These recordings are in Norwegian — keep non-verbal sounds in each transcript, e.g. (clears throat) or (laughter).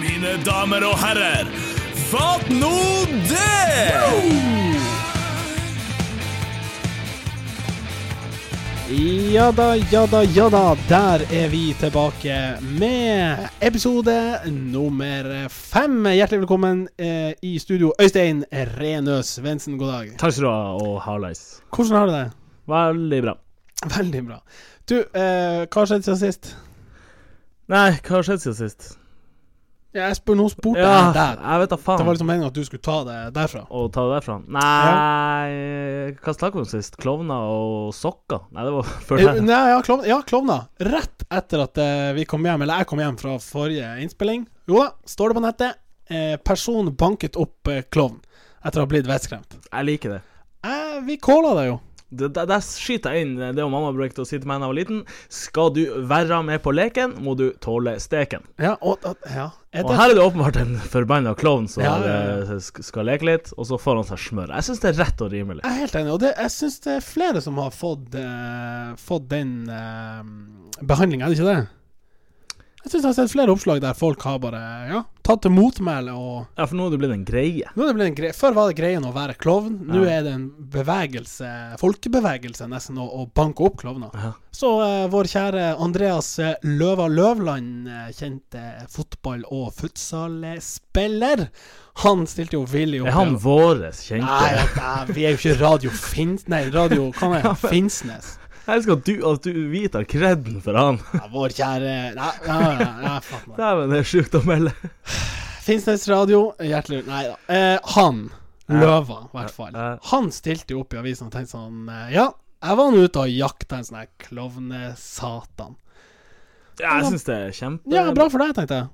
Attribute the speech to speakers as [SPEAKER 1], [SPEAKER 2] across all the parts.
[SPEAKER 1] mine damer og herrer. Fatt nå det!
[SPEAKER 2] Ja da, ja da, ja da. Der er vi tilbake med episode nummer fem. Hjertelig velkommen eh, i studio, Øystein Renøs Svendsen. God dag.
[SPEAKER 3] Takk skal du ha, og hallais.
[SPEAKER 2] Hvordan har du det?
[SPEAKER 3] Veldig bra.
[SPEAKER 2] Veldig bra. Du, eh, hva har skjedd siden sist?
[SPEAKER 3] Nei, hva har skjedd siden sist?
[SPEAKER 2] Ja, jeg spør, nå spurte
[SPEAKER 3] Ja,
[SPEAKER 2] jeg deg.
[SPEAKER 3] jeg vet da faen.
[SPEAKER 2] Det var sånn- liksom meningen at du skulle ta det derfra.
[SPEAKER 3] Å ta det derfra? Nei Hva snakka vi om sist? Klovner og sokker? Nei, det var (laughs) før
[SPEAKER 2] Eh,
[SPEAKER 3] det.
[SPEAKER 2] Nei, ja, klovna. Ja, klovna. Rett etter at eh, vi kom hjem, eller jeg kom hjem fra forrige innspilling. Jo da, står det på nettet. Eh, person banket opp eh, klovn etter å ha blitt vettskremt.
[SPEAKER 3] Jeg liker det.
[SPEAKER 2] Eh, vi calla det jo.
[SPEAKER 3] Det- Der der skyter jeg inn det mamma brukte å si til meg da jeg var liten. Skal du være med på leken, må du tåle steken.
[SPEAKER 2] Ja, og, og, ja. Er
[SPEAKER 3] Og
[SPEAKER 2] det,
[SPEAKER 3] her er det åpenbart en forbanna klovn som
[SPEAKER 2] Ja, ja,
[SPEAKER 3] eh, sk- skal leke litt, og så får han seg smør. Jeg syns det er rett og rimelig.
[SPEAKER 2] jeg er helt enig, og det, jeg syns det er flere som har fått, eh, fått den eh, behandlinga, er det ikke det? Jeg syns jeg har sett flere oppslag der folk har bare ja, tatt til motmæle og
[SPEAKER 3] Ja, for nå er det blitt en greie.
[SPEAKER 2] nå er det blitt en gre Før var det greien å være klovn, nå
[SPEAKER 3] Ja.
[SPEAKER 2] er det en bevegelse, folkebevegelse nesten, å, å banke opp klovner.
[SPEAKER 3] Ja.
[SPEAKER 2] Så eh, vår kjære Andreas eh, Løva Løvland, eh, kjente fotball- og futsalspiller, han stilte jo villig opp.
[SPEAKER 3] Er han
[SPEAKER 2] ja.
[SPEAKER 3] vår kjente?
[SPEAKER 2] Nei, nei, vi er jo ikke Radio Finnsnes Nei, Radio hva er det? Finnsnes.
[SPEAKER 3] Jeg elsker at du, at du vi tar kredden for (laughs) han.
[SPEAKER 2] Ja, vår kjære Nei, nei, nei, nei fatt meg.
[SPEAKER 3] Dæven, det er sjukt å melde.
[SPEAKER 2] Finnsnes Radio, hjertelig Nei da. Eh, han, Løva, i hvert fall,
[SPEAKER 3] Ja, ja.
[SPEAKER 2] han stilte jo opp i avisen og tenkte sånn eh, Ja, jeg var nå ute og jakta en sånn her klovnesatan.
[SPEAKER 3] Ja, jeg syns det er kjempe...
[SPEAKER 2] Ja, bra for deg, tenkte jeg.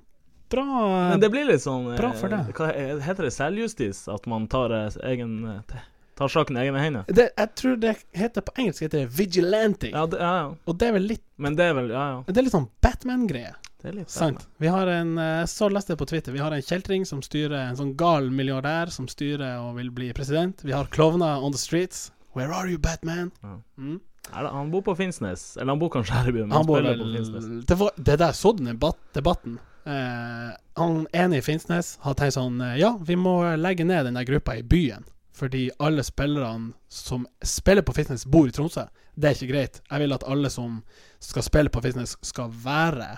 [SPEAKER 2] Bra eh,
[SPEAKER 3] Men det blir litt sånn eh,
[SPEAKER 2] Bra for deg.
[SPEAKER 3] Hva he- heter det? Selvjustis? At man tar, eh, egen, eh, t- tar saken i egne hender?
[SPEAKER 2] det, Jeg tror det heter på engelsk heter det vigilante.
[SPEAKER 3] Ja, det, ja, ja.
[SPEAKER 2] Og det er vel litt
[SPEAKER 3] Men det er vel Ja, ja.
[SPEAKER 2] Det er litt sånn Batman-greie.
[SPEAKER 3] Det er litt
[SPEAKER 2] Sant. Vi har en, eh, jeg så leste jeg på Twitter, vi har en kjeltring som styrer, en sånn gal milliardær som styrer og vil bli president. Vi har klovner on the streets. Where are you, Batman?
[SPEAKER 3] Ja.
[SPEAKER 2] Mm.
[SPEAKER 3] Er det, han bor på Finnsnes. Eller han bor kanskje her i byen, men
[SPEAKER 2] Han
[SPEAKER 3] han
[SPEAKER 2] bor
[SPEAKER 3] spiller på Finnsnes.
[SPEAKER 2] vel det, var, det der så du den debat- debatten. Eh, han ene i Finnsnes har tenkt sånn eh, Ja, vi må legge ned den der gruppa i byen. Fordi alle spillerne som spiller på Finnsnes, bor i Tromsø. Det er ikke greit. Jeg vil at alle som skal spille på Finnsnes, skal være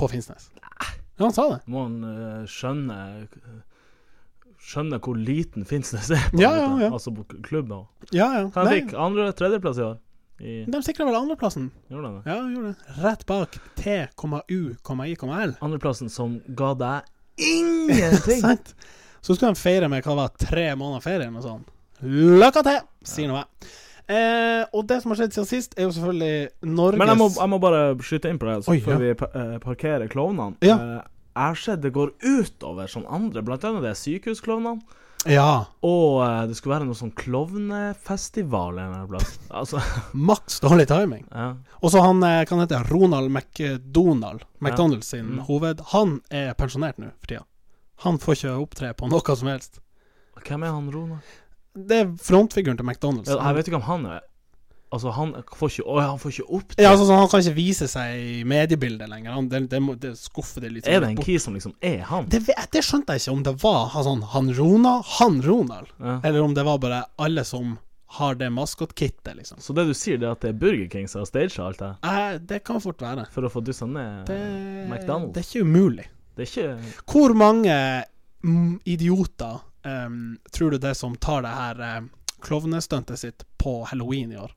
[SPEAKER 2] på Finnsnes. Ja, han sa det.
[SPEAKER 3] Må han eh, skjønne eh, Skjønne hvor liten Finnsnes er? på en
[SPEAKER 2] Ja,
[SPEAKER 3] måte.
[SPEAKER 2] ja, ja.
[SPEAKER 3] Altså på k- klubben. og-
[SPEAKER 2] Ja, ja.
[SPEAKER 3] Han
[SPEAKER 2] Nei.
[SPEAKER 3] fikk andre- tredjeplass i år. I,
[SPEAKER 2] De sikra vel andreplassen.
[SPEAKER 3] gjorde han det?
[SPEAKER 2] Ja, de gjorde det. Rett bak T,U,I,L.
[SPEAKER 3] Andreplassen som ga deg
[SPEAKER 2] (laughs)
[SPEAKER 3] ingenting!
[SPEAKER 2] Sant? Så skulle de feire med hva det var, tre måneder ferie eller noe sånt. Lykke til, sier nå jeg. Eh, og det som har skjedd siden sist, er jo selvfølgelig Norges
[SPEAKER 3] Men jeg må, jeg må bare skyte inn på det, så
[SPEAKER 2] Oi,
[SPEAKER 3] før
[SPEAKER 2] ja.
[SPEAKER 3] vi pa- eh, parkerer klovnene.
[SPEAKER 2] Ja.
[SPEAKER 3] Eh, Jeg har sett det går utover sånn andre, blant annet det er sykehusklovnene.
[SPEAKER 2] Ja.
[SPEAKER 3] Og eh, det skulle være noe sånn klovnefestival en eller
[SPEAKER 2] (laughs)
[SPEAKER 3] annen plass. Altså,
[SPEAKER 2] Maks dårlig timing.
[SPEAKER 3] ja.
[SPEAKER 2] Og så han eh, kan hete Ronald McDonald, McDonald sin
[SPEAKER 3] Mm.
[SPEAKER 2] hoved. Han er pensjonert nå for tida. Han får ikke opptre på noe som helst.
[SPEAKER 3] Hvem er han Rona?
[SPEAKER 2] Det er frontfiguren til McDonald's.
[SPEAKER 3] Ja, Jeg vet ikke om han er Altså, han får ikke, å, han får ikke opp
[SPEAKER 2] Ja, altså sånn, Han kan ikke vise seg i mediebildet lenger. Han, det, det, må, det skuffer det litt. sånn
[SPEAKER 3] Er det en key som liksom er han?
[SPEAKER 2] Det, vet- det skjønte jeg ikke om det var han sånn han Ronald, han Ronald,
[SPEAKER 3] Ja.
[SPEAKER 2] eller om det var bare alle som har det maskotkittet, liksom.
[SPEAKER 3] Så det du sier, det er at det er Burger King som har staged alt det her?
[SPEAKER 2] Eh, det kan fort være.
[SPEAKER 3] For å få dyssa ned
[SPEAKER 2] Det,
[SPEAKER 3] McDonald's?
[SPEAKER 2] det er ikke umulig.
[SPEAKER 3] Det er ikke
[SPEAKER 2] Hvor mange mm, idioter em, tror du det er som tar det her eh, klovnestuntet sitt på halloween i år?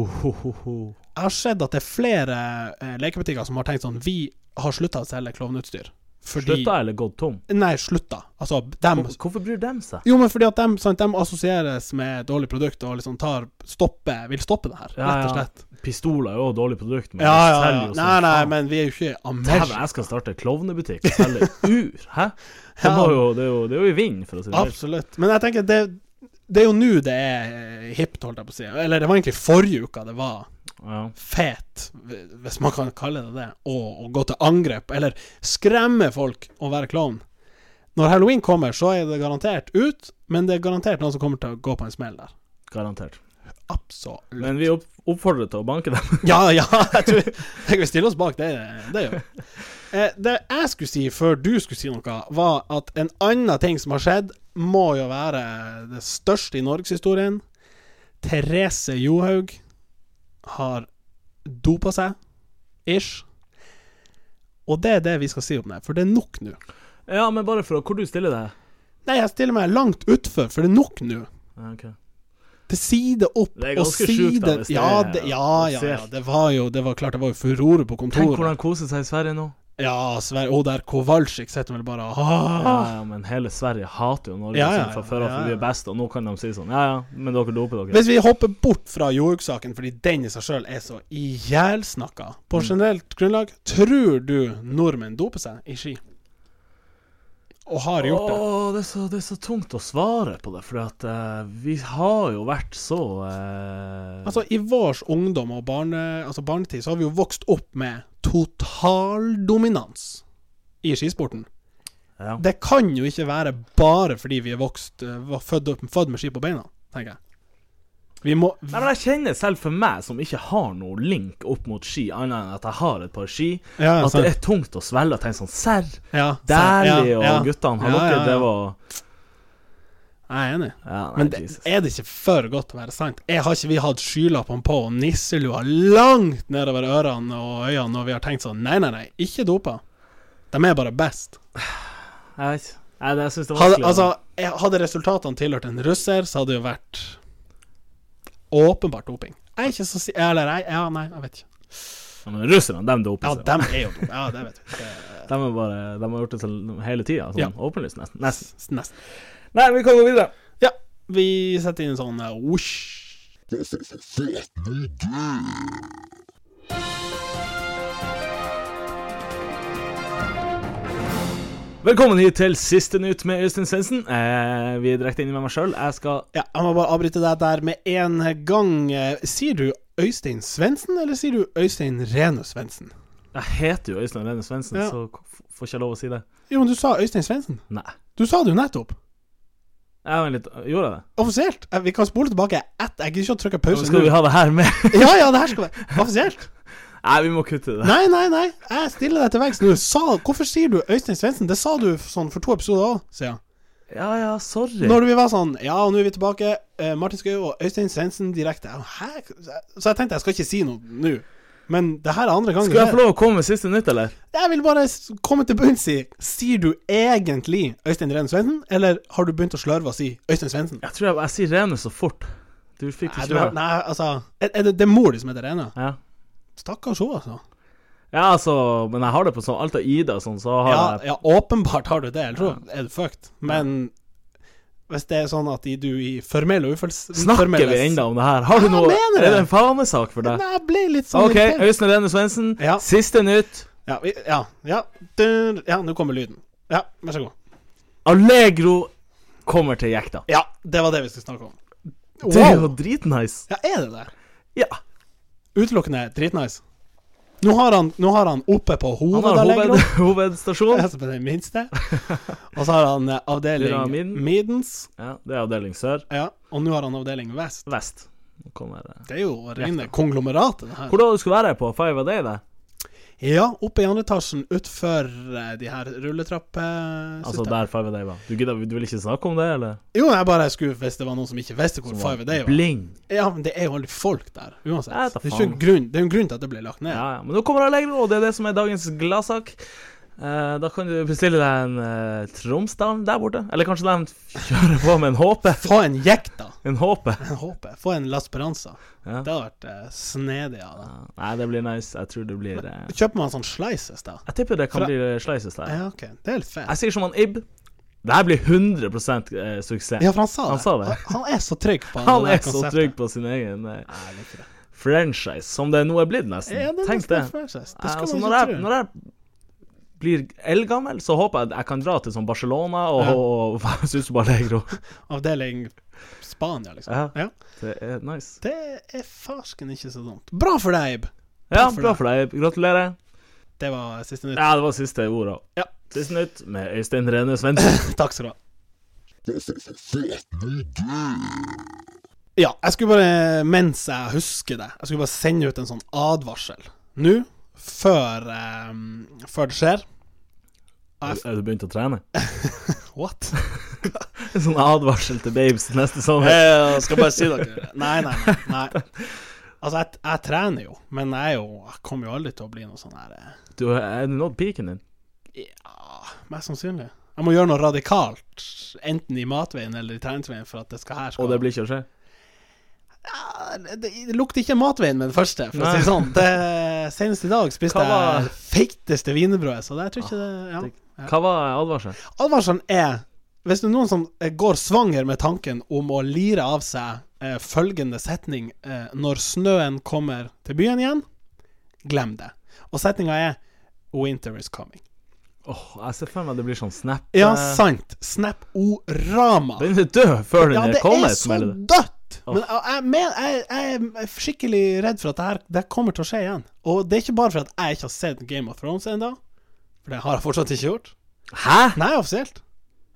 [SPEAKER 3] Ohohoho.
[SPEAKER 2] Jeg har sett at det er flere eh, lekebutikker som har tenkt sånn Vi har slutta å selge klovneutstyr. Fordi
[SPEAKER 3] Slutta eller gått tom?
[SPEAKER 2] Nei, slutta. Altså, dem
[SPEAKER 3] Hvor- Hvorfor bryr de seg?
[SPEAKER 2] Jo, men fordi at de, sant, de assosieres med dårlig produkt og liksom tar stopper, vil stoppe det her,
[SPEAKER 3] Ja,
[SPEAKER 2] rett og
[SPEAKER 3] ja.
[SPEAKER 2] slett.
[SPEAKER 3] Pistoler er jo et dårlig produkt, men
[SPEAKER 2] Ja, ja,
[SPEAKER 3] de
[SPEAKER 2] ja.
[SPEAKER 3] selger jo som
[SPEAKER 2] Nei, nei,
[SPEAKER 3] faen.
[SPEAKER 2] men vi er jo ikke i
[SPEAKER 3] Dæven,
[SPEAKER 2] Amerika.
[SPEAKER 3] jeg skal starte klovnebutikk og selge ur, hæ? Det,
[SPEAKER 2] Ja.
[SPEAKER 3] må jo, det, er jo, det er jo i vinden, for å si det mildt.
[SPEAKER 2] Absolutt. Men jeg tenker, det, det er jo nå det er eh, hipt, holdt jeg på å si. Eller det var egentlig forrige uka det var
[SPEAKER 3] Ja.
[SPEAKER 2] fet, hvis man kan kalle det det, å, å gå til angrep, eller skremme folk å være klovn. Når halloween kommer, så er det garantert ut, men det er garantert noen som kommer til å gå på en smell der.
[SPEAKER 3] Garantert.
[SPEAKER 2] Absolutt.
[SPEAKER 3] Men vi opp- oppfordrer til å banke dem. (laughs)
[SPEAKER 2] (laughs) Ja, ja, jeg tror jeg vil stille oss bak det. Det gjør vi. Eh, det jeg skulle si før du skulle si noe, var at en annen ting som har skjedd, må jo være det største i norgeshistorien. Therese Johaug har dopa seg, ish. Og det er det vi skal si om det, for det er nok nå.
[SPEAKER 3] Ja, men bare for å Hvor du stiller deg?
[SPEAKER 2] Nei, jeg stiller meg langt utfor, for det er nok nå.
[SPEAKER 3] Ja, ok.
[SPEAKER 2] Til side opp
[SPEAKER 3] Det er
[SPEAKER 2] og
[SPEAKER 3] ganske
[SPEAKER 2] side
[SPEAKER 3] sjukt, da, hvis det
[SPEAKER 2] ja,
[SPEAKER 3] er
[SPEAKER 2] det, ja, ja, ja,
[SPEAKER 3] offisielt.
[SPEAKER 2] det var jo Det var klart det var jo furore på
[SPEAKER 3] Tenk
[SPEAKER 2] kontoret.
[SPEAKER 3] hvordan han koser seg i Sverige nå.
[SPEAKER 2] Ja, Sverre Og der Kowalczyk sitter vel bare ah.
[SPEAKER 3] Ja, ja, men hele Sverige hater jo Norge
[SPEAKER 2] Ja, ja,
[SPEAKER 3] sånn fra før av,
[SPEAKER 2] ja,
[SPEAKER 3] for vi er
[SPEAKER 2] ja.
[SPEAKER 3] best, og nå kan de si sånn Ja, ja, men dere doper dere.
[SPEAKER 2] Hvis vi hopper bort fra jordbrukssaken, fordi den i seg sjøl er så ihjelsnakka
[SPEAKER 3] Mm.
[SPEAKER 2] På generelt grunnlag, tror du nordmenn doper seg i ski? Og har gjort det?
[SPEAKER 3] Åh, det er, så, det er så tungt å svare på det, for at eh, vi har jo vært så eh,
[SPEAKER 2] Altså, i vår ungdom og barne, altså barnetid så har vi jo vokst opp med totaldominans i skisporten.
[SPEAKER 3] ja.
[SPEAKER 2] Det kan jo ikke være bare fordi vi er vokst eh, var født, opp- født med ski på beina, tenker jeg. Vi må
[SPEAKER 3] Nei, men jeg kjenner selv for meg, som ikke har noe link opp mot ski, annet enn at jeg har et par ski,
[SPEAKER 2] Ja,
[SPEAKER 3] at
[SPEAKER 2] sant.
[SPEAKER 3] det er tungt å svelge og tenke sånn Serr,
[SPEAKER 2] ja, sant, ja,
[SPEAKER 3] dæhlig, og
[SPEAKER 2] ja.
[SPEAKER 3] guttene,
[SPEAKER 2] Ja,
[SPEAKER 3] har dere
[SPEAKER 2] ja, ja.
[SPEAKER 3] Det var
[SPEAKER 2] Jeg er enig.
[SPEAKER 3] Ja, nei,
[SPEAKER 2] Men det,
[SPEAKER 3] Jesus.
[SPEAKER 2] er det ikke for godt til å være sant? Jeg har ikke vi hatt skylappene på og nisselua langt nedover ørene og øynene når vi har tenkt sånn Nei, nei, nei, ikke dopa. De er bare best.
[SPEAKER 3] Jeg vet ikke. Nei, det, jeg synes det er
[SPEAKER 2] Hadde,
[SPEAKER 3] vanskelig. å-
[SPEAKER 2] altså, jeg- hadde resultatene tilhørt en russer, så hadde det jo vært åpenbart doping. Jeg er ikke så si... Eller, jeg, ja, nei, jeg vet ikke.
[SPEAKER 3] Ja, Men sånn. russerne, de doper
[SPEAKER 2] Ja,
[SPEAKER 3] seg.
[SPEAKER 2] dem er jo dopa. Ja, det
[SPEAKER 3] (laughs)
[SPEAKER 2] vet vi.
[SPEAKER 3] De, er bare, de har gjort det til hele tida, sånn
[SPEAKER 2] Ja.
[SPEAKER 3] åpenlyst, nesten. nesten.
[SPEAKER 2] S- Nesten.
[SPEAKER 3] Nei, vi kan gå videre.
[SPEAKER 2] Ja, vi setter inn en sånn eh, whoosh.
[SPEAKER 3] Velkommen hit til Siste nytt med Øystein Svendsen. Eh, vi er direkte inne med meg sjøl. Jeg skal
[SPEAKER 2] Ja, jeg må bare avbryte deg der med en gang. Eh, Sier du Øystein Svendsen, eller sier du Øystein Renus Svendsen?
[SPEAKER 3] Jeg heter jo Øystein Rene Svendsen,
[SPEAKER 2] Ja.
[SPEAKER 3] så k- f- får ikke jeg lov å si det.
[SPEAKER 2] Jo, men du sa Øystein Svendsen.
[SPEAKER 3] Nei.
[SPEAKER 2] Du sa det jo nettopp.
[SPEAKER 3] Jeg var litt, gjorde jeg det?
[SPEAKER 2] Offisielt. Eh, Vi kan spole tilbake ett. Jeg gidder ikke å trykke
[SPEAKER 3] Men
[SPEAKER 2] pause.
[SPEAKER 3] skal vi
[SPEAKER 2] nå.
[SPEAKER 3] ha det
[SPEAKER 2] (laughs)
[SPEAKER 3] her med?
[SPEAKER 2] Ja, ja, det her skal være offisielt.
[SPEAKER 3] Nei, vi må kutte det.
[SPEAKER 2] Nei, nei, nei. Jeg stiller deg til veggs nå. Sa- Hvorfor sier du Øystein Svendsen? Det sa du sånn for to episoder òg, sier jeg.
[SPEAKER 3] Ja ja, sorry.
[SPEAKER 2] Når vi var sånn Ja, og nå er vi tilbake. eh, Martin Skau og Øystein Svendsen direkte. Jeg, Hæ? Så jeg tenkte jeg skal ikke si noe nå. Men det her er andre gangen.
[SPEAKER 3] Skal jeg
[SPEAKER 2] det-
[SPEAKER 3] få lov å komme med siste nytt, eller?
[SPEAKER 2] Jeg vil bare s- komme til bunns i Sier du egentlig Øystein Ren Svendsen, eller har du begynt å slørve og si Øystein Svendsen?
[SPEAKER 3] Jeg tror jeg, jeg sier Rene så fort. Du fikk
[SPEAKER 2] Nei,
[SPEAKER 3] det
[SPEAKER 2] du,
[SPEAKER 3] ikke med deg.
[SPEAKER 2] nei altså er, er det, det er mor di som heter Rene?
[SPEAKER 3] Ja.
[SPEAKER 2] Stakkars hun, altså.
[SPEAKER 3] ja, altså Men jeg har det på sånn alt av Ida og sånn, så har
[SPEAKER 2] Ja,
[SPEAKER 3] jeg
[SPEAKER 2] ja, åpenbart har du det, ellers så er du fucked. Men hvis det er sånn at de du i formelle og uformelle
[SPEAKER 3] Snakker vi ennå om det her? Har du
[SPEAKER 2] Ja,
[SPEAKER 3] noe
[SPEAKER 2] mener
[SPEAKER 3] Er
[SPEAKER 2] det.
[SPEAKER 3] det en fanesak for deg?
[SPEAKER 2] Nei, jeg ble litt sånn
[SPEAKER 3] OK,
[SPEAKER 2] irritert.
[SPEAKER 3] Øystein Rene Svendsen,
[SPEAKER 2] Ja.
[SPEAKER 3] siste nytt.
[SPEAKER 2] Ja, vi, ja, ja. Du, ja, nå kommer lyden. Ja, vær så god.
[SPEAKER 3] Allegro kommer til jekta.
[SPEAKER 2] Ja, det var det vi skulle snakke om.
[SPEAKER 3] Det er jo
[SPEAKER 2] Wow!
[SPEAKER 3] dritnice.
[SPEAKER 2] Ja, er det det?
[SPEAKER 3] Ja.
[SPEAKER 2] Utelukkende dritnice. Nå har han, nå har han oppe på
[SPEAKER 3] Han har
[SPEAKER 2] hovedanlegget,
[SPEAKER 3] hoved, (laughs) hovedstasjon.
[SPEAKER 2] som er det
[SPEAKER 3] (laughs)
[SPEAKER 2] minste. Og så har han eh, avdeling
[SPEAKER 3] Pyramiden.
[SPEAKER 2] Midens.
[SPEAKER 3] Ja, det er avdeling sør.
[SPEAKER 2] Ja, og nå har han avdeling Vest.
[SPEAKER 3] Vest. Nå kommer det.
[SPEAKER 2] Det er jo å regne konglomeratet, det her.
[SPEAKER 3] Hvor da du skulle være på Five a Day? Det?
[SPEAKER 2] Ja, oppe i andre etasjen utfor eh, de her rulletrappene
[SPEAKER 3] Altså der Five a Day var. Du, gidder, du vil ikke snakke om det, eller?
[SPEAKER 2] Jo, jeg bare skulle hvis det var noen som ikke visste hvor
[SPEAKER 3] Som var
[SPEAKER 2] Five a Day var.
[SPEAKER 3] Bling.
[SPEAKER 2] Ja, men det er jo aldri folk der, uansett.
[SPEAKER 3] Jeg vet da
[SPEAKER 2] Det er jo
[SPEAKER 3] faen.
[SPEAKER 2] en grunn, det er jo en grunn til at det ble lagt ned.
[SPEAKER 3] Ja, ja. Men nå kommer Allegro, og det er det som er dagens gladsak. Eh, da kan du bestille deg en eh, Tromsdalen der borte. Eller kanskje de kjører på med en HP.
[SPEAKER 2] Få en jekk, da.
[SPEAKER 3] En HP.
[SPEAKER 2] Jeg håper. Få en La Speranza.
[SPEAKER 3] Ja.
[SPEAKER 2] Det hadde vært eh, snedig av deg.
[SPEAKER 3] Ja. Nei, det blir nice. Jeg tror det blir eh,
[SPEAKER 2] Kjøper man sånn slices, da?
[SPEAKER 3] Jeg tipper det kan
[SPEAKER 2] Fra-
[SPEAKER 3] bli eh, slices der.
[SPEAKER 2] Ja, ok. Det er litt fett.
[SPEAKER 3] Jeg sier som han Ib. Det her blir 100 eh, suksess.
[SPEAKER 2] Ja, for han sa det.
[SPEAKER 3] Han sa det.
[SPEAKER 2] Han, han er så trygg på
[SPEAKER 3] (laughs) Han
[SPEAKER 2] det der
[SPEAKER 3] er så
[SPEAKER 2] konseptet.
[SPEAKER 3] trygg på sin egen eh,
[SPEAKER 2] Nei, jeg liker det.
[SPEAKER 3] franchise, som det nå er blitt, nesten.
[SPEAKER 2] Ja, det er
[SPEAKER 3] Tenk
[SPEAKER 2] nesten
[SPEAKER 3] det.
[SPEAKER 2] en franchise. Det
[SPEAKER 3] Eh,
[SPEAKER 2] skal
[SPEAKER 3] altså,
[SPEAKER 2] man
[SPEAKER 3] når,
[SPEAKER 2] ikke
[SPEAKER 3] jeg,
[SPEAKER 2] tro.
[SPEAKER 3] når jeg blir eldgammel, så håper jeg at jeg kan dra til sånn Barcelona og,
[SPEAKER 2] Ja.
[SPEAKER 3] og, og (laughs) Susuba Alegro.
[SPEAKER 2] Avdeling Spania, liksom.
[SPEAKER 3] Ja.
[SPEAKER 2] Ja.
[SPEAKER 3] Det er nice.
[SPEAKER 2] Det er farsken ikke så dumt. Bra for deg, Eib!
[SPEAKER 3] Ja,
[SPEAKER 2] for
[SPEAKER 3] bra
[SPEAKER 2] deg.
[SPEAKER 3] for deg. Gratulerer.
[SPEAKER 2] Det var siste nytt.
[SPEAKER 3] Ja, det var siste ordet.
[SPEAKER 2] Ja. (laughs)
[SPEAKER 3] Siste nytt med Øystein Rene Svendsen.
[SPEAKER 2] Takk skal du ha. eh, Ja, jeg skulle bare, mens jeg husker det, jeg skulle bare sende ut en sånn advarsel. Nå, før, eh, før det skjer.
[SPEAKER 3] Har du- har du begynt å trene? (laughs)
[SPEAKER 2] What?
[SPEAKER 3] En sånn advarsel til babes neste sommer.
[SPEAKER 2] Jeg Eh, skal bare si dere (laughs) Nei, nei, nei. nei. Altså, jeg, jeg trener jo, men jeg, er jo, jeg kommer jo aldri til å bli noe sånn her eh,
[SPEAKER 3] Du har nådd piken din.
[SPEAKER 2] Ja, mest sannsynlig. Jeg må gjøre noe radikalt, enten i matveien eller i treningsveien, for at det skal her skal
[SPEAKER 3] Og det blir ikke å skje?
[SPEAKER 2] Ja, det, det lukter ikke matveien med det første, for å
[SPEAKER 3] Nei.
[SPEAKER 2] si det sånn. Det, senest i dag spiste
[SPEAKER 3] Hva var-
[SPEAKER 2] jeg feiteste wienerbrødet, så det, jeg tror ikke det ja.
[SPEAKER 3] det- Hva var advarselen?
[SPEAKER 2] Advarselen er Hvis det er noen som eh, går svanger med tanken om å lire av seg eh, følgende setning eh, når snøen kommer til byen igjen, glem det. Og setninga er Winter is coming.
[SPEAKER 3] Åh, jeg ser for meg det blir sånn snap.
[SPEAKER 2] Ja,
[SPEAKER 3] eh,
[SPEAKER 2] sant. Snap-orama.
[SPEAKER 3] Den er død før den
[SPEAKER 2] Ja,
[SPEAKER 3] er
[SPEAKER 2] det
[SPEAKER 3] kommet,
[SPEAKER 2] er så
[SPEAKER 3] smeller det.
[SPEAKER 2] dødt!
[SPEAKER 3] Åh.
[SPEAKER 2] Men jeg, jeg, men- jeg, jeg er skikkelig redd for at det her det kommer til å skje igjen. Og det er ikke bare for at jeg ikke har sett Game of Thrones ennå, for det har jeg fortsatt ikke gjort.
[SPEAKER 3] Hæ?
[SPEAKER 2] Nei, offisielt.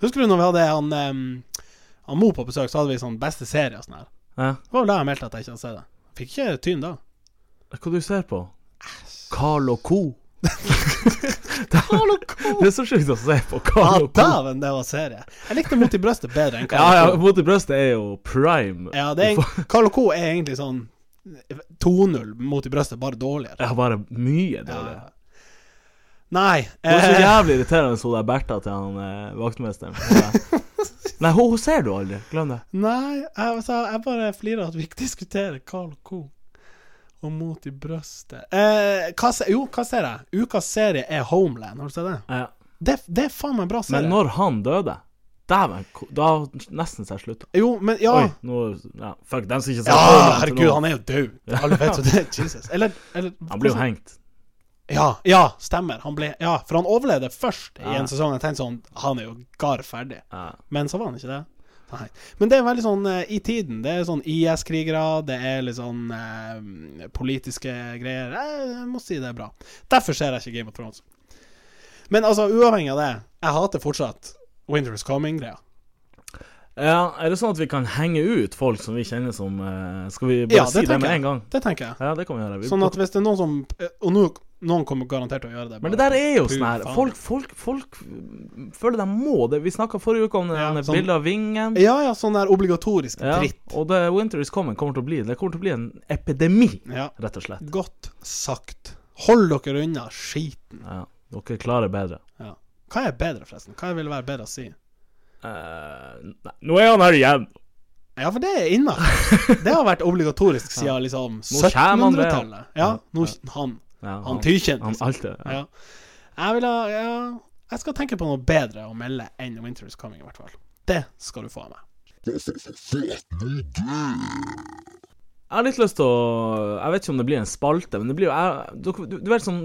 [SPEAKER 2] Husker du når vi hadde han, um, han Mo på besøk, så hadde vi sånn beste serie og sånn her.
[SPEAKER 3] Ja.
[SPEAKER 2] Det var vel da jeg meldte at jeg ikke hadde sett det. Fikk ikke tyn da.
[SPEAKER 3] Hva du ser på? Carl og Co. Carl
[SPEAKER 2] (laughs)
[SPEAKER 3] og Co. Det er så sjukt å se på
[SPEAKER 2] Ja,
[SPEAKER 3] Carl og Co.
[SPEAKER 2] dæven, det var serie. Jeg likte Mot i brøstet bedre enn
[SPEAKER 3] Ja,
[SPEAKER 2] Carl
[SPEAKER 3] ja,
[SPEAKER 2] og Co.
[SPEAKER 3] Mot i brøstet er jo prime.
[SPEAKER 2] Ja, det er, en- Carl og Co er egentlig sånn 2-0 mot i brøstet, bare dårligere.
[SPEAKER 3] Jeg har bare mye dårlig.
[SPEAKER 2] Ja. Nei.
[SPEAKER 3] Det var så
[SPEAKER 2] eh,
[SPEAKER 3] jævlig irriterende hun der Bertha til han eh, vaktmesteren. Ja. Nei, hun, hun ser du aldri. Glem det.
[SPEAKER 2] Nei, jeg, altså, jeg bare flirer at vi ikke diskuterer Carl Co. Og mot i brøstet eh, hva, se- Jo, hva ser jeg? Ukas serie er Homeland. Har du sett det?
[SPEAKER 3] Ja.
[SPEAKER 2] Det, det er faen meg en bra serie.
[SPEAKER 3] Men når han døde Dæven, ko- da nesten så jeg slutta.
[SPEAKER 2] Jo, men ja.
[SPEAKER 3] Oi, nå ja, Fuck, dem som ikke ser
[SPEAKER 2] Ja,
[SPEAKER 3] på den til
[SPEAKER 2] herregud,
[SPEAKER 3] nå.
[SPEAKER 2] han er jo død. Alle vet jo det.
[SPEAKER 3] (laughs)
[SPEAKER 2] Jesus. Eller, eller
[SPEAKER 3] Han blir jo hengt.
[SPEAKER 2] Ja, ja, stemmer. Han ble Ja, for han overlevde først i
[SPEAKER 3] Ja.
[SPEAKER 2] en sesong. Jeg tenkte sånn Han er jo gar ferdig.
[SPEAKER 3] Ja.
[SPEAKER 2] Men så var han ikke det. Nei. Men det er veldig sånn eh, i tiden. Det er sånn IS-krigere, det er litt sånn eh, politiske greier. Jeg, jeg må si det er bra. Derfor ser jeg ikke Game of Thrones. Men altså, uavhengig av det, jeg hater fortsatt Winter is coming-greia.
[SPEAKER 3] Ja, er det sånn at vi kan henge ut folk som vi kjenner som eh, Skal vi bare
[SPEAKER 2] Ja,
[SPEAKER 3] si
[SPEAKER 2] det
[SPEAKER 3] det med
[SPEAKER 2] tenker
[SPEAKER 3] en gang?
[SPEAKER 2] jeg. Det tenker jeg.
[SPEAKER 3] Ja, det kan vi gjøre. Vi,
[SPEAKER 2] Sånn at hvis det er noen som eh, Og nå, noen kommer garantert til å gjøre det.
[SPEAKER 3] men det
[SPEAKER 2] bare
[SPEAKER 3] der er jo
[SPEAKER 2] for
[SPEAKER 3] sånn her
[SPEAKER 2] faen.
[SPEAKER 3] Folk, folk, folk mm, føler de må det. Vi snakka forrige uke om det
[SPEAKER 2] Ja,
[SPEAKER 3] denne
[SPEAKER 2] sånn-
[SPEAKER 3] bildet av vingen.
[SPEAKER 2] Ja, ja, sånn der obligatorisk
[SPEAKER 3] Ja,
[SPEAKER 2] dritt.
[SPEAKER 3] og det Winter is coming kommer til å bli Det kommer til å bli en epidemi,
[SPEAKER 2] Ja.
[SPEAKER 3] rett og slett.
[SPEAKER 2] Godt sagt. Hold dere unna skiten.
[SPEAKER 3] Ja, dere klarer bedre.
[SPEAKER 2] Hva er bedre, forresten? Hva vil være bedre å si?
[SPEAKER 3] Eh, nei, nå er han her igjen!
[SPEAKER 2] Ja, for det er innafor.
[SPEAKER 3] (laughs)
[SPEAKER 2] Det har vært obligatorisk siden liksom
[SPEAKER 3] Nå kommer han med, ja.
[SPEAKER 2] 1700-tallet. Ja, nå han,
[SPEAKER 3] Ja,
[SPEAKER 2] han Tykjen.
[SPEAKER 3] han
[SPEAKER 2] Liksom.
[SPEAKER 3] alltid, ja.
[SPEAKER 2] Ja. Jeg vil ha ja, Jeg skal tenke på noe bedre å melde enn Winter is Coming, i hvert fall. Det skal du få av meg.
[SPEAKER 3] Jeg har litt lyst til å Jeg vet ikke om det blir en spalte, men det blir jo jeg, du, du, du vet sånn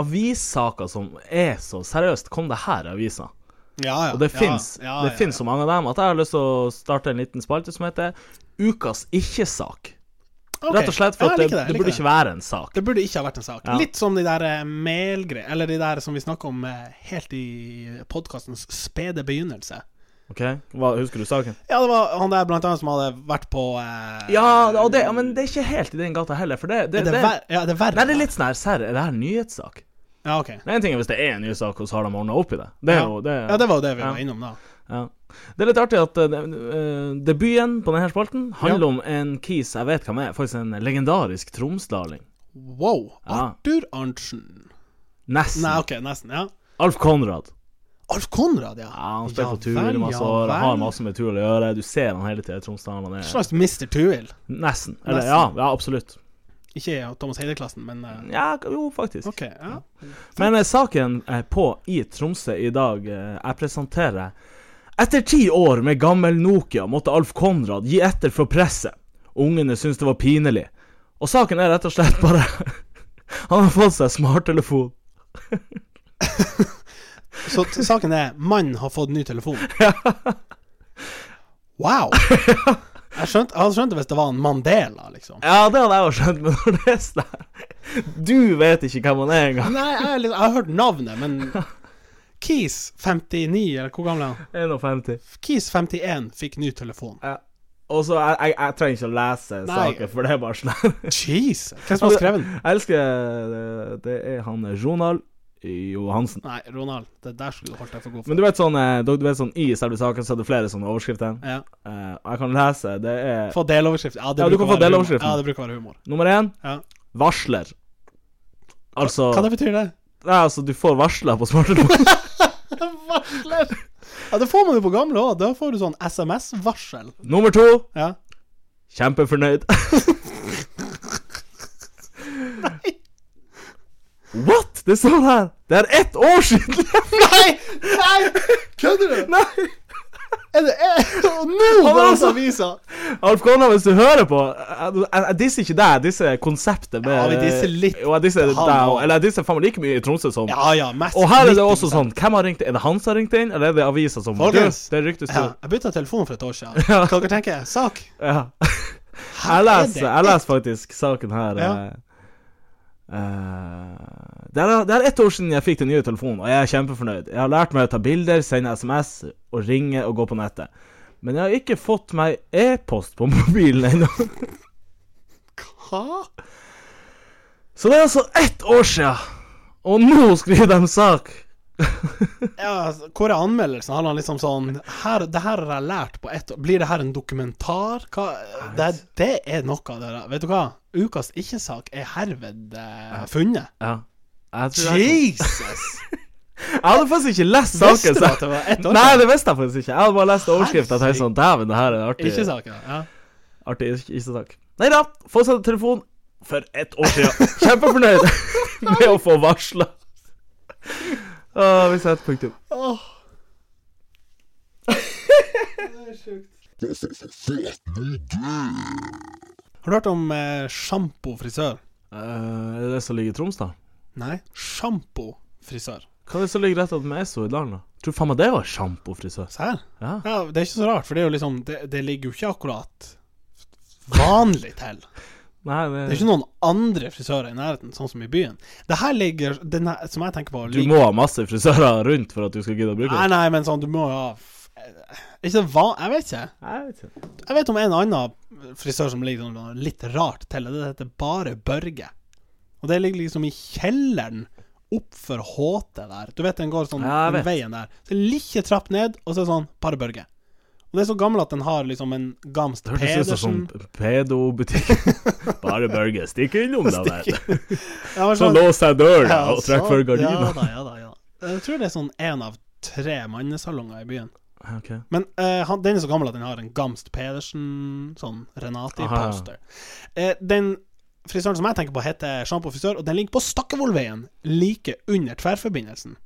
[SPEAKER 3] avissaker som er så Seriøst, kom det her i avisa?
[SPEAKER 2] Ja, ja.
[SPEAKER 3] Og det
[SPEAKER 2] ja,
[SPEAKER 3] fins
[SPEAKER 2] ja,
[SPEAKER 3] Det
[SPEAKER 2] ja,
[SPEAKER 3] finnes så mange av dem at jeg har lyst til å starte en liten spalte som heter Ukas ikke-sak.
[SPEAKER 2] Ok.
[SPEAKER 3] Rett og slett for
[SPEAKER 2] Ja,
[SPEAKER 3] at
[SPEAKER 2] jeg
[SPEAKER 3] det,
[SPEAKER 2] liker
[SPEAKER 3] det,
[SPEAKER 2] jeg liker
[SPEAKER 3] burde ikke være en sak.
[SPEAKER 2] Det burde ikke ha vært en sak.
[SPEAKER 3] Ja.
[SPEAKER 2] Litt som de der eh, mailgreiene, eller de der som vi snakka om eh, helt i podkastens spede begynnelse.
[SPEAKER 3] Ok, Hva, Husker du saken?
[SPEAKER 2] Ja, det var han der blant annet som hadde vært på eh,
[SPEAKER 3] Ja, og det, ja, men det er ikke helt i den gata heller, for det, det,
[SPEAKER 2] Er det,
[SPEAKER 3] det,
[SPEAKER 2] ver ja, er det verre?
[SPEAKER 3] Nei, det er litt sånn her Serr, er det her en nyhetssak?
[SPEAKER 2] Ja, ok.
[SPEAKER 3] Det er en ting er hvis det er en nyhetssak, og så har de ordna opp i det. Det er jo det,
[SPEAKER 2] Ja, det var jo det vi
[SPEAKER 3] Ja.
[SPEAKER 2] var innom da.
[SPEAKER 3] Ja. Det er litt artig at eh, eh, debuten på denne spalten handler om en kis jeg vet hvem er, faktisk en legendarisk tromsdaling.
[SPEAKER 2] Wow.
[SPEAKER 3] Ja.
[SPEAKER 2] Arthur Arntzen.
[SPEAKER 3] Nesten.
[SPEAKER 2] Nei, ok, nesten. Ja.
[SPEAKER 3] Alf Konrad.
[SPEAKER 2] Alf Konrad, ja.
[SPEAKER 3] Ja, han spiller
[SPEAKER 2] Ja
[SPEAKER 3] på Tuil
[SPEAKER 2] vel,
[SPEAKER 3] i masse
[SPEAKER 2] ja
[SPEAKER 3] år, har
[SPEAKER 2] vel.
[SPEAKER 3] masse med Tuil å gjøre. Du ser han hele tida i Tromsdalen. Han
[SPEAKER 2] En
[SPEAKER 3] er
[SPEAKER 2] slags Mr. Tuil.
[SPEAKER 3] nesten. Eller,
[SPEAKER 2] Nesten.
[SPEAKER 3] ja, ja, absolutt.
[SPEAKER 2] Ikke i Thomas Heide-klassen, men eh,
[SPEAKER 3] Ja, jo, faktisk.
[SPEAKER 2] OK. ja.
[SPEAKER 3] Men eh, saken eh, på i Tromsø i dag eh, jeg presenterer Etter ti år med gammel Nokia måtte Alf Konrad gi etter for presset. Ungene syntes det var pinlig. Og saken er rett og slett bare (laughs) Han har fått seg smarttelefon.
[SPEAKER 2] Så t- saken er mannen har fått ny telefon.
[SPEAKER 3] (laughs)
[SPEAKER 2] Wow. Jeg skjønte, jeg hadde skjønt det hvis det var en Mandela, liksom.
[SPEAKER 3] Ja, det hadde jeg jo skjønt, men (laughs) når det er sånn her Du vet ikke hvem han er engang.
[SPEAKER 2] Nei, jeg, er litt- jeg har hørt navnet, men Keys, 59, eller hvor gammel er han?
[SPEAKER 3] 51.
[SPEAKER 2] Keys, 51, fikk ny telefon.
[SPEAKER 3] Ja. Og så jeg, jeg, jeg trenger ikke å lese
[SPEAKER 2] Nei.
[SPEAKER 3] saken, for det er bare sånn
[SPEAKER 2] Jeez! Hvem
[SPEAKER 3] Altså,
[SPEAKER 2] som har skrevet den?
[SPEAKER 3] (laughs) Jeg elsker det, det er han Ronald Johansen.
[SPEAKER 2] Nei, Ronald, det der skulle du holdt deg for god for.
[SPEAKER 3] Men du vet sånn, eh, du vet sånn i selve saken så er det flere sånne overskrifter.
[SPEAKER 2] Ja.
[SPEAKER 3] Eh, og jeg kan lese. Det er
[SPEAKER 2] Få deloverskrift. Ja, det
[SPEAKER 3] Ja, du
[SPEAKER 2] bruker å
[SPEAKER 3] kan få
[SPEAKER 2] være humor.
[SPEAKER 3] deloverskriften.
[SPEAKER 2] Ja, det bruker å være humor.
[SPEAKER 3] nummer én
[SPEAKER 2] Ja.
[SPEAKER 3] varsler. Altså,
[SPEAKER 2] Hva det betyr det?
[SPEAKER 3] Nei, altså du får varsler på
[SPEAKER 2] (laughs)
[SPEAKER 3] smarttelefon.
[SPEAKER 2] Varsler! Ja, det får man jo på gamle òg. Da får du sånn SMS-varsel.
[SPEAKER 3] nummer to
[SPEAKER 2] Ja.
[SPEAKER 3] Kjempefornøyd. (laughs) What?! Det står her! Det er ett år siden! (laughs)
[SPEAKER 2] Nei! Nei! Kødder du?
[SPEAKER 3] Nei!
[SPEAKER 2] Er det er, (laughs) Og nå
[SPEAKER 3] Han
[SPEAKER 2] var
[SPEAKER 3] har
[SPEAKER 2] det
[SPEAKER 3] altså-
[SPEAKER 2] avisa!
[SPEAKER 3] Alf Konrad, hvis du hører på Jeg, jeg, jeg disser ikke deg, jeg disser konseptet. Med,
[SPEAKER 2] Ja, vi disser litt
[SPEAKER 3] Jo, jeg
[SPEAKER 2] han
[SPEAKER 3] disser deg
[SPEAKER 2] også.
[SPEAKER 3] òg. Eller jeg disser faen meg like mye i Tromsø som
[SPEAKER 2] Ja ja, mest
[SPEAKER 3] Og her er det
[SPEAKER 2] 90%.
[SPEAKER 3] også sånn Hvem har ringt inn? Er det han som har ringt inn, eller er det avisa som
[SPEAKER 2] Folkens.
[SPEAKER 3] Du, Det ryktes
[SPEAKER 2] ja,
[SPEAKER 3] jo.
[SPEAKER 2] Jeg bytta telefon for et år siden. Hva dere tenker dere? Sak?
[SPEAKER 3] Ja. (laughs) Jeg leser,
[SPEAKER 2] Er
[SPEAKER 3] jeg leser faktisk saken her.
[SPEAKER 2] Ja.
[SPEAKER 3] eh, eh, det, er, det er ett år siden jeg fikk den nye telefonen, og jeg er kjempefornøyd. Jeg har lært meg å ta bilder, sende SMS, og ringe og gå på nettet. Men jeg har ikke fått meg e-post på (laughs) mobilen ennå.
[SPEAKER 2] Hva?
[SPEAKER 3] Så det er altså ett år sia, og nå skriver de sak.
[SPEAKER 2] Ja, altså, hvor er anmeldelsen? Han har liksom sånn her, Det her har jeg lært på ett år. Blir det her en dokumentar? Hva? Det, det er noe av det der. Vet du hva? Ukas ikke-sak er herved eh, funnet.
[SPEAKER 3] Ja. Jeg, tror jeg,
[SPEAKER 2] Jesus!
[SPEAKER 3] jeg hadde faktisk ikke lest
[SPEAKER 2] Visste
[SPEAKER 3] saken.
[SPEAKER 2] du at
[SPEAKER 3] Så.
[SPEAKER 2] det var ett år
[SPEAKER 3] Nei,
[SPEAKER 2] siden?
[SPEAKER 3] det visste jeg faktisk ikke. Jeg hadde bare lest overskrifta og tenkte sånn Dæven, det her er en artig
[SPEAKER 2] Ikke saken, ja.
[SPEAKER 3] Artig ikke-sak. Nei da, få seg telefon for ett år siden. (laughs) Kjempefornøyd med å få varsla. vi setter punktum.
[SPEAKER 2] Åh. Har du hørt om eh, sjampo frisør?
[SPEAKER 3] Eh, er det som ligger i Troms, da?
[SPEAKER 2] Nei, sjampo frisør.
[SPEAKER 3] Hva er det som ligger rett attmed Esso i Dalen, da? Tror faen meg det var sjampofrisør.
[SPEAKER 2] Se her.
[SPEAKER 3] Ja.
[SPEAKER 2] Ja, det er ikke så rart, for det, er jo liksom, det, det ligger jo ikke akkurat vanlig til.
[SPEAKER 3] Nei, det,
[SPEAKER 2] Det er ikke noen andre frisører i nærheten, sånn som i byen. Det her ligger den her, Som jeg tenker på
[SPEAKER 3] Du må ha masse frisører rundt for at du skal gidde å bruke
[SPEAKER 2] Nei,
[SPEAKER 3] det.
[SPEAKER 2] nei, men sånn, du må ha f- eh, Ikke van... Jeg vet ikke.
[SPEAKER 3] Jeg vet ikke.
[SPEAKER 2] Jeg vet om en annen frisør som ligger sånn litt rart til. Det heter Bare Børge. Og det ligger liksom i kjelleren oppfor HT der. Du vet den går sånn
[SPEAKER 3] Ja, jeg
[SPEAKER 2] den veien der. Så en lille trapp ned, og så er det sånn Bare Børge. Og det er så gammel at den har liksom en Gamst
[SPEAKER 3] Det hørtes ut som
[SPEAKER 2] Pedersen
[SPEAKER 3] sånn p- pedobutikk.
[SPEAKER 2] (laughs)
[SPEAKER 3] Bare Børge, stikk innom da vel.
[SPEAKER 2] Ja, men
[SPEAKER 3] Så
[SPEAKER 2] sånn-
[SPEAKER 3] lås jeg døra
[SPEAKER 2] Ja,
[SPEAKER 3] og trekk
[SPEAKER 2] så-
[SPEAKER 3] for gardina.
[SPEAKER 2] Ja da, ja da. ja da. Jeg tror det er sånn én av tre mannesalonger i byen.
[SPEAKER 3] Ok.
[SPEAKER 2] Men eh, han, den er så gammel at den har en Gamst Pedersen, sånn
[SPEAKER 3] Aha, ja.
[SPEAKER 2] Renati-poster. Eh, den frisøren som jeg tenker på, heter Sjampo Frisør, og den ligger på Stakkevollveien, like under tverrforbindelsen.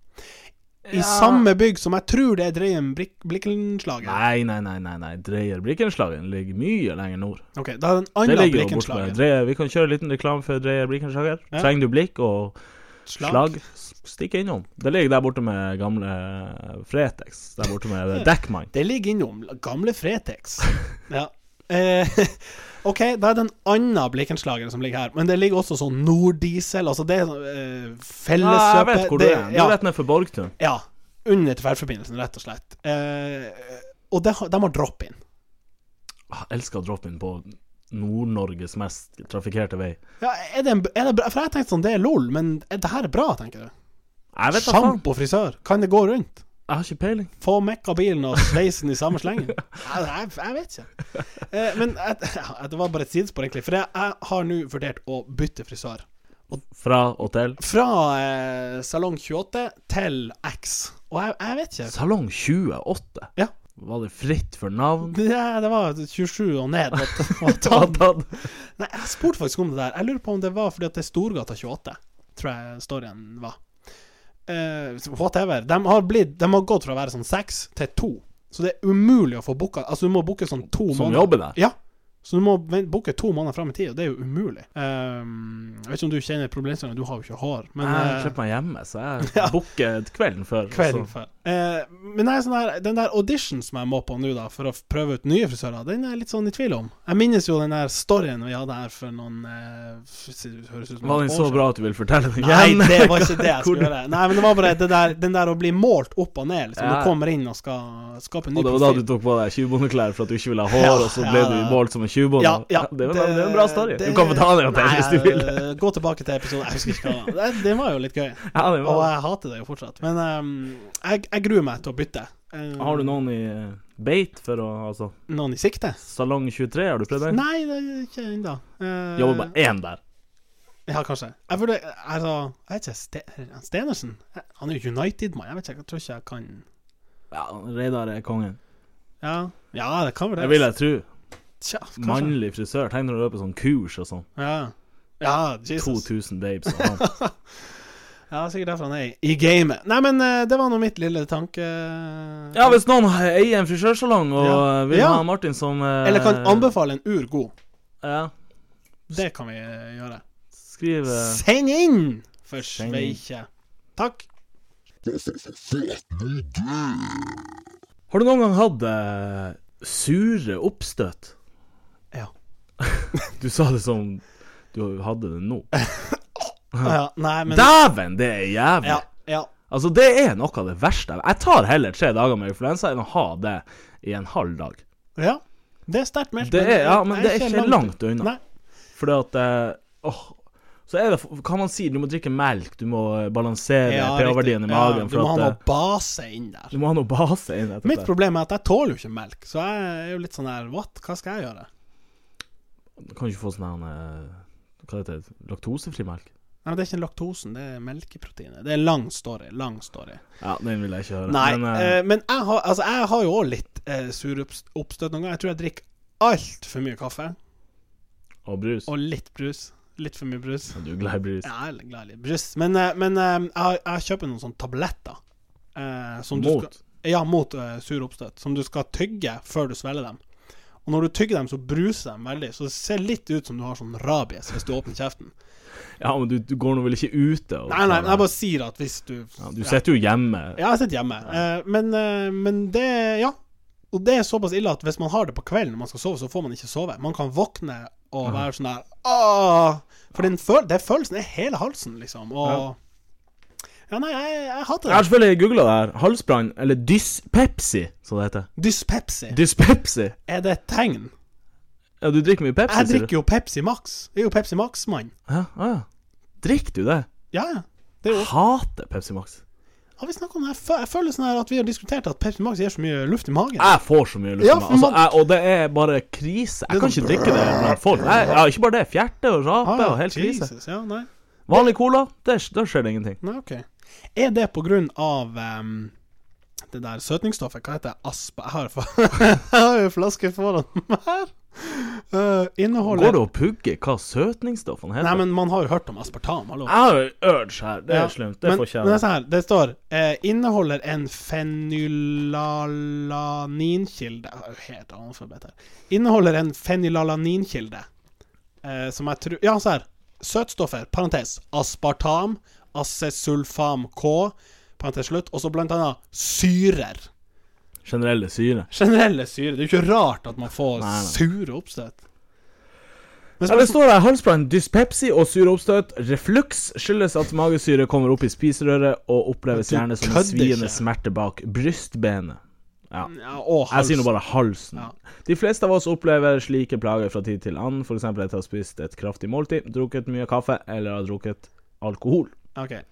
[SPEAKER 2] I samme bygg som jeg tror det er Dreien Brik- Blikkenslaget.
[SPEAKER 3] Nei, nei, nei, nei, nei. Dreyer Blikkenslagen ligger mye lenger nord.
[SPEAKER 2] Ok, da er det en
[SPEAKER 3] Det
[SPEAKER 2] annen
[SPEAKER 3] ligger jo borte ved
[SPEAKER 2] Blikkenslaget.
[SPEAKER 3] Dreyer. Vi kan kjøre en liten reklame for Dreyer Blikkenslager.
[SPEAKER 2] Ja.
[SPEAKER 3] Trenger du blikk og
[SPEAKER 2] Slag.
[SPEAKER 3] slag, s- stikk innom. Det ligger der borte med gamle eh, Fretex. Der
[SPEAKER 2] (laughs)
[SPEAKER 3] borte med Deckman.
[SPEAKER 2] Det ligger innom gamle
[SPEAKER 3] (laughs)
[SPEAKER 2] Fretex. Ja. Eh, (laughs) ok, da er det en annen Blikkenslager som ligger her, men det ligger også sånn Norddiesel, altså det er sånn, eh,
[SPEAKER 3] Ja,
[SPEAKER 2] felleskjøpet
[SPEAKER 3] Ah, jeg vet hvor du er. Du
[SPEAKER 2] ja,
[SPEAKER 3] er rett ned for Borgtun.
[SPEAKER 2] ja. Under tverrforbindelsen, rett og slett. Eh, og det, har- de har drop-in.
[SPEAKER 3] Ah, elsker å droppe inn på Nord-Norges mest trafikkerte vei.
[SPEAKER 2] Ja, er det en, er det bra? For jeg tenkte sånn, det er lol, men er det her er bra, tenker du.
[SPEAKER 3] Jeg vet da faen.
[SPEAKER 2] Sjampo frisør, kan det gå rundt?
[SPEAKER 3] Jeg har ikke peiling.
[SPEAKER 2] Få mekka bilen og sveisen i samme
[SPEAKER 3] (laughs)
[SPEAKER 2] slengen? Jeg, jeg, jeg vet ikke. Eh, men jeg, (laughs) ja, det var bare et sidespor, egentlig. For jeg, jeg har nå vurdert å bytte frisør.
[SPEAKER 3] Fra og til.
[SPEAKER 2] Fra eh, salong 28 til X. Og jeg, jeg vet ikke.
[SPEAKER 3] Salong 28.
[SPEAKER 2] Ja.
[SPEAKER 3] Var det fritt for navn?
[SPEAKER 2] Det, det var 27 og
[SPEAKER 3] (laughs)
[SPEAKER 2] ned. Og, og
[SPEAKER 3] Hva
[SPEAKER 2] tatt.
[SPEAKER 3] da?
[SPEAKER 2] Nei, jeg spurte faktisk om det der. Jeg lurer på om det var fordi at det er Storgata 28, tror jeg storyen var. Eh, whatever. De har, blitt, de har gått fra å være sånn seks til to. Så det er umulig å få booka Altså, du må booke sånn to
[SPEAKER 3] Som
[SPEAKER 2] måneder.
[SPEAKER 3] jobber der?
[SPEAKER 2] Ja. Så du må vent- booke to måneder fram i tid, og det er jo umulig. Ehm, jeg vet ikke om du kjenner problemstillingen, du har jo ikke hår, men
[SPEAKER 3] jeg
[SPEAKER 2] eh,
[SPEAKER 3] slipper meg hjemme,
[SPEAKER 2] (laughs)
[SPEAKER 3] så jeg booker kvelden før.
[SPEAKER 2] Kvelden
[SPEAKER 3] så-
[SPEAKER 2] før. Eh, men jeg er sånn der, den der audition som jeg må på nå, da, for å f- prøve ut nye frisører, den er jeg litt sånn i tvil om. Jeg minnes jo den der storyen vi hadde her for noen eh, f- det høres ut som
[SPEAKER 3] Var
[SPEAKER 2] noen
[SPEAKER 3] den
[SPEAKER 2] år
[SPEAKER 3] så
[SPEAKER 2] siden.
[SPEAKER 3] bra at du vil fortelle den
[SPEAKER 2] Nei,
[SPEAKER 3] igjen?
[SPEAKER 2] det var ikke det jeg skulle
[SPEAKER 3] Hvordan-
[SPEAKER 2] gjøre. Nei, men det var bare det der, den der å bli målt opp og ned. Liksom.
[SPEAKER 3] Ja.
[SPEAKER 2] Du kommer inn og skal skape en ny
[SPEAKER 3] (laughs) Og det var da du tok på deg tjuvbondeklær for at du ikke ville ha hår,
[SPEAKER 2] Ja,
[SPEAKER 3] og så
[SPEAKER 2] ja,
[SPEAKER 3] ble
[SPEAKER 2] ja.
[SPEAKER 3] du målt som en tjuvbonde?
[SPEAKER 2] Ja, ja,
[SPEAKER 3] det, er jo en- det er en bra story. Du kan få ta den igjen hvis du
[SPEAKER 2] Nei,
[SPEAKER 3] vil.
[SPEAKER 2] eh, Gå tilbake til episoden. Jeg husker ikke hva det var. Det- Det var jo litt gøy.
[SPEAKER 3] Ja, det
[SPEAKER 2] Og eh,
[SPEAKER 3] var.
[SPEAKER 2] jeg hater det jo fortsatt. Men ehm, jeg, jeg gruer meg til å bytte. Eh,
[SPEAKER 3] Har du noen i eh, beit for å Altså,
[SPEAKER 2] noen i sikte?
[SPEAKER 3] Salong 23, har du prøvd den?
[SPEAKER 2] Nei, det er ikke ennå. Eh,
[SPEAKER 3] Jobber bare én der.
[SPEAKER 2] Ja, kanskje. Jeg burde Altså, jeg vet ikke Ste Stenersen? Jeg- Han er jo United-mann. Jeg vet ikke, jeg tror ikke jeg kan
[SPEAKER 3] Ja, Reidar er kongen.
[SPEAKER 2] Ja, ja det kan være
[SPEAKER 3] Det vil jeg tro.
[SPEAKER 2] Tja, kanskje.
[SPEAKER 3] Mannlig frisør. Tenk når du er på sånn kurs og sånn.
[SPEAKER 2] Ja. ja, Jesus.
[SPEAKER 3] 2000 babes
[SPEAKER 2] (laughs)
[SPEAKER 3] og sånn.
[SPEAKER 2] Ja, det er sikkert derfor han er i- i gamet. Nei, men eh, det var nå mitt lille tanke...
[SPEAKER 3] Ja, hvis noen eier en frisørsalong og
[SPEAKER 2] Ja.
[SPEAKER 3] eh, vil
[SPEAKER 2] Ja.
[SPEAKER 3] ha Martin som eh,
[SPEAKER 2] Eller kan anbefale en ur god.
[SPEAKER 3] Ja,
[SPEAKER 2] Det kan vi eh, gjøre.
[SPEAKER 3] skriv eh,
[SPEAKER 2] Send inn! For
[SPEAKER 3] Send inn.
[SPEAKER 2] sveike. Takk.
[SPEAKER 3] Har du noen gang hatt eh, sure oppstøt?
[SPEAKER 2] Ja.
[SPEAKER 3] du sa det som du hadde det
[SPEAKER 2] (laughs)
[SPEAKER 3] nå.
[SPEAKER 2] Ja, nei, men
[SPEAKER 3] Dæven, det er jævlig!
[SPEAKER 2] ja, ja.
[SPEAKER 3] Altså, det er noe av det verste. Jeg tar heller tre dager med influensa enn å ha det i en halv dag.
[SPEAKER 2] ja. Det er sterkt meldt.
[SPEAKER 3] Det er, ja, men det er
[SPEAKER 2] jeg
[SPEAKER 3] ikke langt unna.
[SPEAKER 2] Nei.
[SPEAKER 3] Fordi at eh, åh, Så er det, kan man si, du må drikke melk, du må eh, balansere
[SPEAKER 2] Ja,
[SPEAKER 3] pH-verdien i
[SPEAKER 2] riktig.
[SPEAKER 3] magen.
[SPEAKER 2] Ja, du
[SPEAKER 3] for
[SPEAKER 2] må ha
[SPEAKER 3] at,
[SPEAKER 2] noe
[SPEAKER 3] eh,
[SPEAKER 2] base inn der.
[SPEAKER 3] du må ha noe base inn etter
[SPEAKER 2] Mitt problem er at jeg tåler jo ikke melk, så jeg er jo litt sånn her What? Hva skal jeg gjøre?
[SPEAKER 3] Du kan ikke få sånn her eh, Hva heter det? Laktosefri melk?
[SPEAKER 2] Nei, men Det er ikke laktosen, det er melkeproteinet. Det er lang story. Lang story.
[SPEAKER 3] Ja, den vil jeg ikke høre.
[SPEAKER 2] Nei,
[SPEAKER 3] Men,
[SPEAKER 2] men,
[SPEAKER 3] eh,
[SPEAKER 2] men jeg, har, altså, jeg har jo òg litt eh, suroppstøt noen ganger. Jeg tror jeg drikker altfor mye kaffe
[SPEAKER 3] og brus.
[SPEAKER 2] og litt brus. Litt for mye brus.
[SPEAKER 3] Du er glad i brus.
[SPEAKER 2] Jeg er glad i litt brus, men, eh, men eh, jeg, har- jeg kjøper noen sånne tabletter. Eh, som du
[SPEAKER 3] Mot.
[SPEAKER 2] Skal, ja, mot eh, sur oppstøt. Som du skal tygge før du svelger dem. Og når du tygger dem, så bruser de veldig, så det ser litt ut som du har sånn rabies hvis du åpner kjeften.
[SPEAKER 3] Ja, men du, du går nå vel ikke ute? Og,
[SPEAKER 2] Nei, nei, jeg bare sier at hvis du
[SPEAKER 3] ja, Du sitter jo hjemme.
[SPEAKER 2] Ja, jeg sitter hjemme. Eh, men, eh, men det Ja. Og det er såpass ille at hvis man har det på kvelden når man skal sove, så får man ikke sove. Man kan våkne og være sånn der Åh! For den, føl den følelsen er hele halsen, liksom. Og Ja, nei, jeg, jeg hater
[SPEAKER 3] Jeg har
[SPEAKER 2] det.
[SPEAKER 3] selvfølgelig googla det her. Halsbrann, eller dyspepsi, som det heter.
[SPEAKER 2] Dyspepsi.
[SPEAKER 3] Dyspepsi?
[SPEAKER 2] Er det et tegn?
[SPEAKER 3] Ja, du drikker mye Pepsi,
[SPEAKER 2] Jeg drikker jo Pepsi Max. Jeg er jo Pepsi Max-mann.
[SPEAKER 3] du? Ja, ah, ja. Drikker du det?
[SPEAKER 2] Ja, ja. Det er
[SPEAKER 3] Ah.
[SPEAKER 2] jo
[SPEAKER 3] Hater Pepsi Max.
[SPEAKER 2] Har vi snakket om det? her før? Jeg føler sånn her at vi har diskutert at Pepsi Max gir så mye luft i magen.
[SPEAKER 3] Jeg får så mye luft
[SPEAKER 2] Ja,
[SPEAKER 3] i meg.
[SPEAKER 2] for
[SPEAKER 3] Altså,
[SPEAKER 2] man-
[SPEAKER 3] jeg, og det er bare krise. Jeg
[SPEAKER 2] Det er
[SPEAKER 3] kan
[SPEAKER 2] sånn
[SPEAKER 3] ikke drikke det blant folk. Nei, ja, ikke bare det. Fjerte og rape
[SPEAKER 2] Ah,
[SPEAKER 3] og helt krise.
[SPEAKER 2] Jesus, ja, nei.
[SPEAKER 3] Vanlig cola, det, da skjer det ingenting.
[SPEAKER 2] Nei, ok. Er det på grunn av em, det der søtningsstoffet? Hva heter det? Aspa? Jeg har, fa- (laughs) jeg har jo en flaske foran meg her. Eh, inneholder
[SPEAKER 3] Går det å pugge hva søtningsstoffene
[SPEAKER 2] Nei,
[SPEAKER 3] heter?
[SPEAKER 2] men man har jo hørt om aspartam, hallo.
[SPEAKER 3] jeg har jo urge her. Det er
[SPEAKER 2] Ja,
[SPEAKER 3] slemt. Det
[SPEAKER 2] men,
[SPEAKER 3] får ikke
[SPEAKER 2] Men det er
[SPEAKER 3] jeg.
[SPEAKER 2] sånn her, det står eh, 'inneholder en fenylalanin-kilde' Jeg er jo Helt analfabet her. 'Inneholder en fenylalanin-kilde' eh, som jeg tror Ja, se her. Søtstoffer, parentes, aspartam, acesulfam K, parentes slutt, og så blant annet syrer.
[SPEAKER 3] Generelle syre.
[SPEAKER 2] Generelle syrer. Det er jo ikke rart at man får
[SPEAKER 3] Nei, nei.
[SPEAKER 2] sure oppstøt. Men
[SPEAKER 3] Ja, det
[SPEAKER 2] spørsmål-
[SPEAKER 3] står der halsbrann, dyspepsi og syreoppstøt. Refluks skyldes at magesyre kommer opp i spiserøret og oppleves
[SPEAKER 2] Du
[SPEAKER 3] gjerne som en
[SPEAKER 2] kødder
[SPEAKER 3] sviende
[SPEAKER 2] ikke.
[SPEAKER 3] smerte bak brystbenet. Ja.
[SPEAKER 2] ja, og
[SPEAKER 3] Jeg
[SPEAKER 2] hals.
[SPEAKER 3] sier nå bare halsen.
[SPEAKER 2] Ja.
[SPEAKER 3] De fleste av oss opplever slike plager fra tid til annen, f.eks. etter å ha spist et kraftig måltid, drukket mye kaffe eller har drukket alkohol.
[SPEAKER 2] Ok.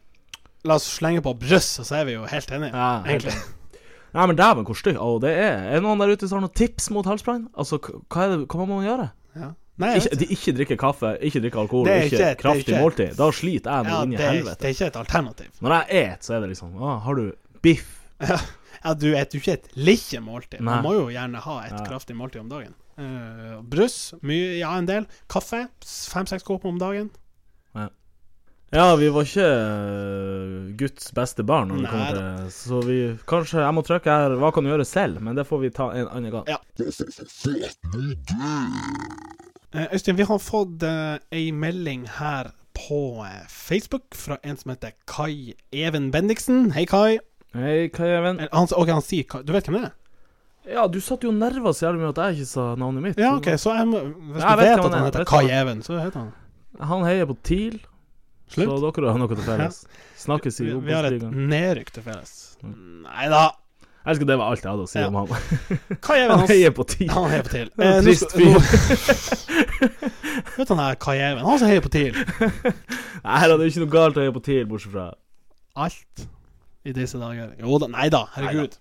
[SPEAKER 2] La oss slenge på bryst, så er vi jo helt enige.
[SPEAKER 3] Ja, helt
[SPEAKER 2] egentlig.
[SPEAKER 3] Nei, men dæven, hvor stygt Å, det er Er det noen der ute som har noen tips mot halsbrann? Altså, k- hva, er det, hva må man gjøre?
[SPEAKER 2] Ja. Nei, jeg
[SPEAKER 3] Ikke,
[SPEAKER 2] vet
[SPEAKER 3] de, ikke drikke kaffe, ikke drikke alkohol,
[SPEAKER 2] Det er
[SPEAKER 3] ikke,
[SPEAKER 2] ikke et- det er
[SPEAKER 3] kraftig
[SPEAKER 2] ikke et-
[SPEAKER 3] måltid. Da sliter
[SPEAKER 2] ikke.
[SPEAKER 3] jeg nå
[SPEAKER 2] ja,
[SPEAKER 3] inn i
[SPEAKER 2] det, er,
[SPEAKER 3] helvete.
[SPEAKER 2] det er ikke et alternativ.
[SPEAKER 3] Når jeg et, så er det liksom Å, har du biff?
[SPEAKER 2] (laughs) Ja, du spiser jo ikke et lite måltid.
[SPEAKER 3] Nei.
[SPEAKER 2] Man må jo gjerne ha et
[SPEAKER 3] Ja.
[SPEAKER 2] kraftig måltid om dagen. Eh, Uh, Brus, mye, ja, en del. Kaffe, s- fem-seks kopper om dagen.
[SPEAKER 3] Ja, vi var ikke eh, Guds beste barn, når det
[SPEAKER 2] Nei
[SPEAKER 3] kommer til så vi Kanskje jeg må trykke her 'hva kan du gjøre selv', men det får vi ta en annen gang.
[SPEAKER 2] Ja. Eh, Øystein, vi har fått eh, ei melding her på eh, Facebook fra en som heter Kai Even Bendiksen. Hei, Kai.
[SPEAKER 3] Hei, Kai Even.
[SPEAKER 2] Eller, Han, ok, han sier Kai. Du vet hvem det er?
[SPEAKER 3] Ja, du satt jo nerver så jævlig mye at jeg ikke sa navnet mitt.
[SPEAKER 2] Ja, OK, så jeg, må- hvis
[SPEAKER 3] Ja, jeg
[SPEAKER 2] du vet
[SPEAKER 3] vet hvem
[SPEAKER 2] at
[SPEAKER 3] han
[SPEAKER 2] han
[SPEAKER 3] er,
[SPEAKER 2] heter
[SPEAKER 3] vet
[SPEAKER 2] Kai
[SPEAKER 3] hvem han
[SPEAKER 2] Even, så heter han
[SPEAKER 3] Han heier på TIL,
[SPEAKER 2] Slutt.
[SPEAKER 3] så dere har noe til felles. Snakkes i
[SPEAKER 2] Vi, vi har et
[SPEAKER 3] Obos-ligaen.
[SPEAKER 2] nedrykk til felles. Nei da.
[SPEAKER 3] Jeg elsker det var alt jeg hadde å si
[SPEAKER 2] Ja.
[SPEAKER 3] om han.
[SPEAKER 2] Kai Even,
[SPEAKER 3] (laughs) Han
[SPEAKER 2] han,
[SPEAKER 3] heier på TIL.
[SPEAKER 2] han heier på TIL.
[SPEAKER 3] er en
[SPEAKER 2] Eh, nå
[SPEAKER 3] trist
[SPEAKER 2] skal- nå- Vet du han her Kai Even? Han som heier på TIL.
[SPEAKER 3] Nei da, det er ikke noe galt å heie på TIL, bortsett fra
[SPEAKER 2] alt i disse dager. Jo da, nei da, herregud.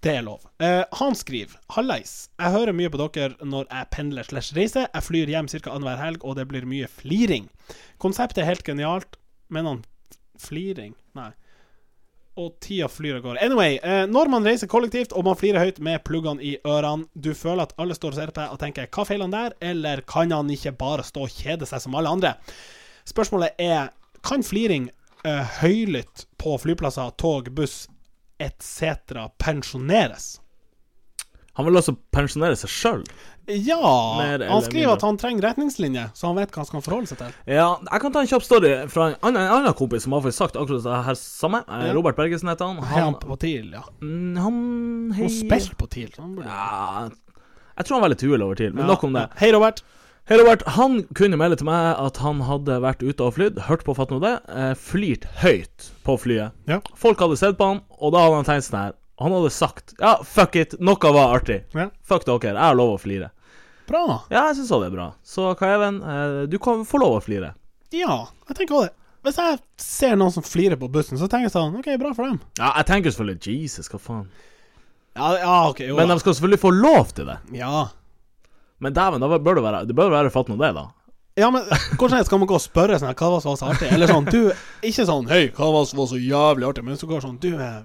[SPEAKER 2] Det er lov. Eh, han skriver Hallais. Jeg hører mye på dere når jeg pendler slash reiser. Jeg flyr hjem ca. annenhver helg, og det blir mye fliring. Konseptet er helt genialt, men han Fliring? Nei. Og tida flyr av gårde. Anyway, eh, når man reiser kollektivt og man flirer høyt med pluggene i ørene, du føler at alle står og ser på deg og tenker 'hva feiler han der', eller 'kan han ikke bare stå og kjede seg som alle andre'? Spørsmålet er kan fliring eh, høylytt på flyplasser, tog, buss etc. pensjoneres?
[SPEAKER 3] Han vil altså pensjonere seg sjøl.
[SPEAKER 2] Ja,
[SPEAKER 3] Mer eller
[SPEAKER 2] han skriver
[SPEAKER 3] mindre.
[SPEAKER 2] at han trenger retningslinjer, så han vet hva han skal forholde seg til.
[SPEAKER 3] Ja, jeg kan ta en kjapp story fra en annen, en annen kompis som har faktisk sagt akkurat det her samme. Eh,
[SPEAKER 2] Ja.
[SPEAKER 3] Robert Bergesen heter han.
[SPEAKER 2] Han,
[SPEAKER 3] Han,
[SPEAKER 2] på TIL, ja.
[SPEAKER 3] Mm, han
[SPEAKER 2] Og
[SPEAKER 3] heier-
[SPEAKER 2] spilt på TIL. så han burde-
[SPEAKER 3] Ja, jeg tror han var litt uhell over til, men nok om det.
[SPEAKER 2] Ja. Hei, Robert.
[SPEAKER 3] Hei, Robert. Han kunne melde til meg at han hadde vært ute og flydd, hørt på Fatt nå det, eh, flirt høyt på flyet.
[SPEAKER 2] Ja.
[SPEAKER 3] Folk hadde sett på han, og da hadde han tenkt sånn her. Han hadde sagt ja, fuck it, noe var artig.
[SPEAKER 2] Ja.
[SPEAKER 3] Fuck dere, jeg har lov å flire.
[SPEAKER 2] Bra.
[SPEAKER 3] Ja, jeg syns også det er bra. Så Kai Even, eh, du kan få lov å flire.
[SPEAKER 2] Ja, jeg tenker også det. Hvis jeg ser noen som flirer på bussen, så tenker jeg sånn OK, bra for dem.
[SPEAKER 3] Ja, jeg tenker selvfølgelig Jesus, hva faen.
[SPEAKER 2] Ja, ja OK, jo
[SPEAKER 3] Men de
[SPEAKER 2] da.
[SPEAKER 3] skal selvfølgelig få lov til det.
[SPEAKER 2] Ja.
[SPEAKER 3] Men dæven, da bør det være Det bør være fatt nå det, da.
[SPEAKER 2] Ja, men hvordan skal man gå og spørre sånn her, hva var så så artig? Eller sånn, du Ikke sånn hei, hva var så, så jævlig artig? Men hvis du går sånn, du er, er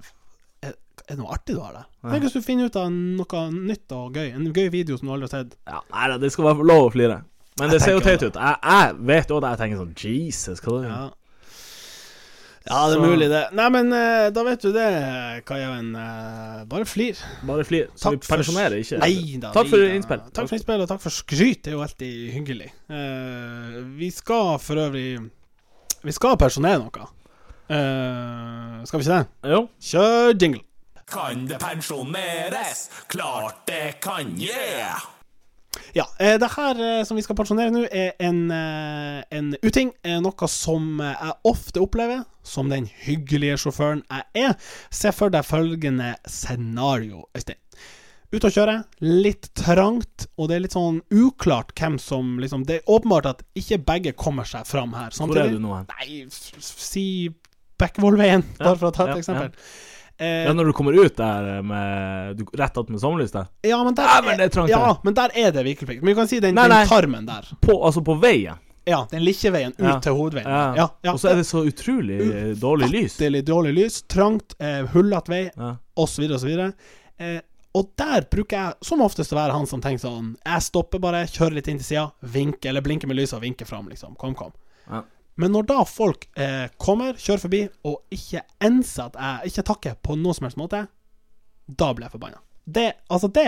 [SPEAKER 2] er det noe artig du har der? Tenk hvis du finner ut av noe nytt og gøy. En gøy video som du aldri har sett.
[SPEAKER 3] Ja, nei da, det skal være lov å flire. Men det
[SPEAKER 2] Jeg
[SPEAKER 3] ser jo
[SPEAKER 2] tenker
[SPEAKER 3] teit ut. Jeg, jeg vet jo det. Jeg tenker sånn Jesus, hva er det
[SPEAKER 2] Ja, ja det er
[SPEAKER 3] Så-
[SPEAKER 2] mulig, det. Nei, men eh, da vet du det, Kai Even. Eh, bare flir.
[SPEAKER 3] Bare flir. Så vi pensjonerer ikke.
[SPEAKER 2] Nei da.
[SPEAKER 3] Takk
[SPEAKER 2] nei
[SPEAKER 3] for
[SPEAKER 2] da.
[SPEAKER 3] innspill.
[SPEAKER 2] Takk for innspill, og takk for skryt. Det er jo alltid hyggelig. Eh, vi skal for øvrig Vi skal pensjonere noe. Eh, skal vi ikke det?
[SPEAKER 3] Jo.
[SPEAKER 2] Kjør jingle.
[SPEAKER 1] Kan det pensjoneres? Klart det kan, yeah!
[SPEAKER 2] Ja, eh, det her eh, som vi skal pensjonere nå, er en, eh, en uting. eh, Noe som eh, jeg ofte opplever, som den hyggelige sjåføren jeg er. Se for deg følgende scenario, Øystein. Ute og kjøre, litt trangt, og det er litt sånn uklart hvem som liksom Det er åpenbart at ikke begge kommer seg fram her Sånn
[SPEAKER 3] Hvor
[SPEAKER 2] samtidig.
[SPEAKER 3] er du nå hen?
[SPEAKER 2] Nei, f- f- si Bekkevollveien, bare for å ta et
[SPEAKER 3] ja,
[SPEAKER 2] eksempel.
[SPEAKER 3] Ja,
[SPEAKER 2] Eh,
[SPEAKER 3] når du kommer ut der med du, Rett attmed sommerlyset?
[SPEAKER 2] ja, men der,
[SPEAKER 3] Ja, men det er trangt,
[SPEAKER 2] ja,
[SPEAKER 3] det.
[SPEAKER 2] men der er det virkeplikt. Men vi kan si den,
[SPEAKER 3] Nei, nei.
[SPEAKER 2] den tarmen der.
[SPEAKER 3] På, altså på veien?
[SPEAKER 2] Ja, den veien ut
[SPEAKER 3] Ja.
[SPEAKER 2] til hovedveien.
[SPEAKER 3] Ja.
[SPEAKER 2] Ja, ja.
[SPEAKER 3] Og så er det så utrolig eh, dårlig lys.
[SPEAKER 2] Ufattelig dårlig lys, trangt, eh, hullete vei,
[SPEAKER 3] Ja.
[SPEAKER 2] osv., osv. Eh, og der bruker jeg som oftest å være han som tenker sånn Jeg stopper bare, kjører litt inn til sida, vinker, eller blinker med lyset og vinker fram, liksom. Kom, kom.
[SPEAKER 3] Ja.
[SPEAKER 2] Men når da folk eh, kommer, kjører forbi, og ikke enser at jeg ikke takker på noen som helst måte, da blir jeg forbanna. Det, altså, det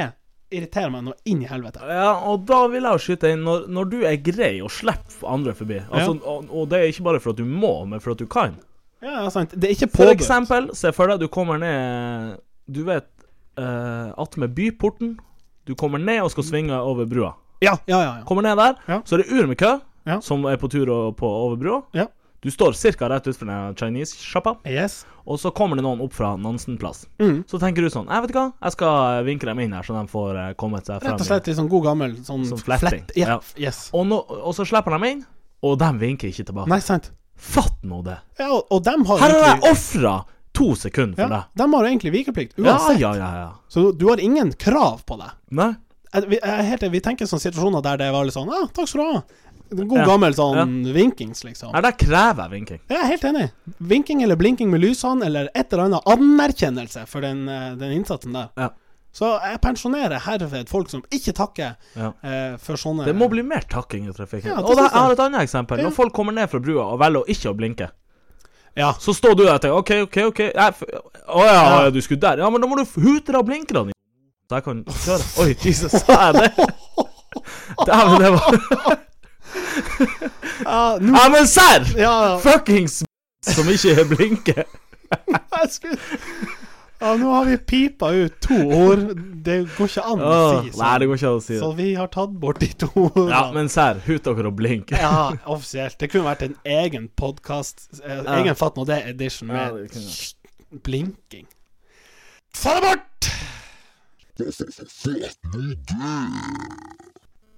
[SPEAKER 2] irriterer meg noe inn i helvete.
[SPEAKER 3] ja, og da vil jeg jo skyte inn når, når du er grei og slipper andre forbi. Altså, og, og det er ikke bare for at du må, men for at du kan.
[SPEAKER 2] Ja, ja, sant. Det er ikke
[SPEAKER 3] For
[SPEAKER 2] påbudt.
[SPEAKER 3] eksempel, se for deg du kommer ned Du vet uh, attmed byporten. Du kommer ned og skal svinge over brua.
[SPEAKER 2] Ja, ja, ja. ja.
[SPEAKER 3] Kommer ned der,
[SPEAKER 2] Ja.
[SPEAKER 3] så er det ur med kø,
[SPEAKER 2] Ja.
[SPEAKER 3] som er på tur og på over brua.
[SPEAKER 2] Ja.
[SPEAKER 3] Du står ca. rett utfor den Chinese-sjappa,
[SPEAKER 2] Yes.
[SPEAKER 3] og så kommer det noen opp fra Nansenplass.
[SPEAKER 2] Mm.
[SPEAKER 3] Så tenker du sånn Jeg vet ikke hva, jeg skal eh, vinke dem inn her, så de får eh, kommet seg frem.
[SPEAKER 2] Rett og
[SPEAKER 3] igjen.»
[SPEAKER 2] slett litt sånn god gammel sånn
[SPEAKER 3] Sånn fletting.
[SPEAKER 2] flett- Ja,
[SPEAKER 3] Ja.
[SPEAKER 2] Yes.
[SPEAKER 3] Og, nå- og så slipper de inn, og de vinker ikke tilbake.
[SPEAKER 2] Nei, sant.
[SPEAKER 3] Fatt nå det!
[SPEAKER 2] Ja, og, og dem har
[SPEAKER 3] Her har
[SPEAKER 2] egentlig
[SPEAKER 3] jeg ofra to sekunder for
[SPEAKER 2] ja, dem har jo egentlig vikeplikt,
[SPEAKER 3] deg. Ja,
[SPEAKER 2] uansett.
[SPEAKER 3] ja, ja. ja.
[SPEAKER 2] Så du har ingen krav på deg.
[SPEAKER 3] Nei.
[SPEAKER 2] Jeg- Vi, jeg er helt, vi tenker sånne situasjoner der det var litt sånn Ja, ah, takk skal du ha. En God
[SPEAKER 3] Ja.
[SPEAKER 2] gammel sånn vinkings, liksom.
[SPEAKER 3] Nei, der krever jeg vinking.
[SPEAKER 2] Jeg er helt enig. Vinking eller blinking med lysene, eller et eller annet anerkjennelse for den, eh, den innsatsen der.
[SPEAKER 3] Ja.
[SPEAKER 2] Så jeg pensjonerer herved folk som ikke takker
[SPEAKER 3] Ja.
[SPEAKER 2] eh, for sånne
[SPEAKER 3] Det må bli mer takking i trafikken.
[SPEAKER 2] Ja, det
[SPEAKER 3] og da,
[SPEAKER 2] synes jeg.
[SPEAKER 3] jeg har et annet eksempel.
[SPEAKER 2] Ja.
[SPEAKER 3] Når folk kommer ned fra brua og velger å ikke å blinke,
[SPEAKER 2] Ja.
[SPEAKER 3] (laughs) så står du der og tenker OK, OK, OK Nei, f- Å ja,
[SPEAKER 2] Ja.
[SPEAKER 3] ja, du skulle der. Ja, men da må du f- hute deg av blinkerne. Så jeg kan kjøre.
[SPEAKER 2] (laughs)
[SPEAKER 3] Oi, Jesus, sa jeg det? Dæven, det var
[SPEAKER 2] (laughs) Ja, nå-
[SPEAKER 3] Ja, men serr!
[SPEAKER 2] ja, ja.
[SPEAKER 3] Fuckings (laughs) som ikke blinker.
[SPEAKER 2] Jeg skulle- ja, nå har vi pipa ut to ord. Det går ikke an å
[SPEAKER 3] Åh,
[SPEAKER 2] si
[SPEAKER 3] nei, det
[SPEAKER 2] sånn.
[SPEAKER 3] går ikke an å si det.
[SPEAKER 2] Så vi har tatt bort de to ordene.
[SPEAKER 3] Ja, men serr, hut dere og blink.
[SPEAKER 2] Ja, offisielt. Det kunne vært en egen podkast.
[SPEAKER 3] Ja.
[SPEAKER 2] Egen Fatt nå det edition
[SPEAKER 3] Ja,
[SPEAKER 2] med
[SPEAKER 3] det kunne
[SPEAKER 2] blinking. Få det bort!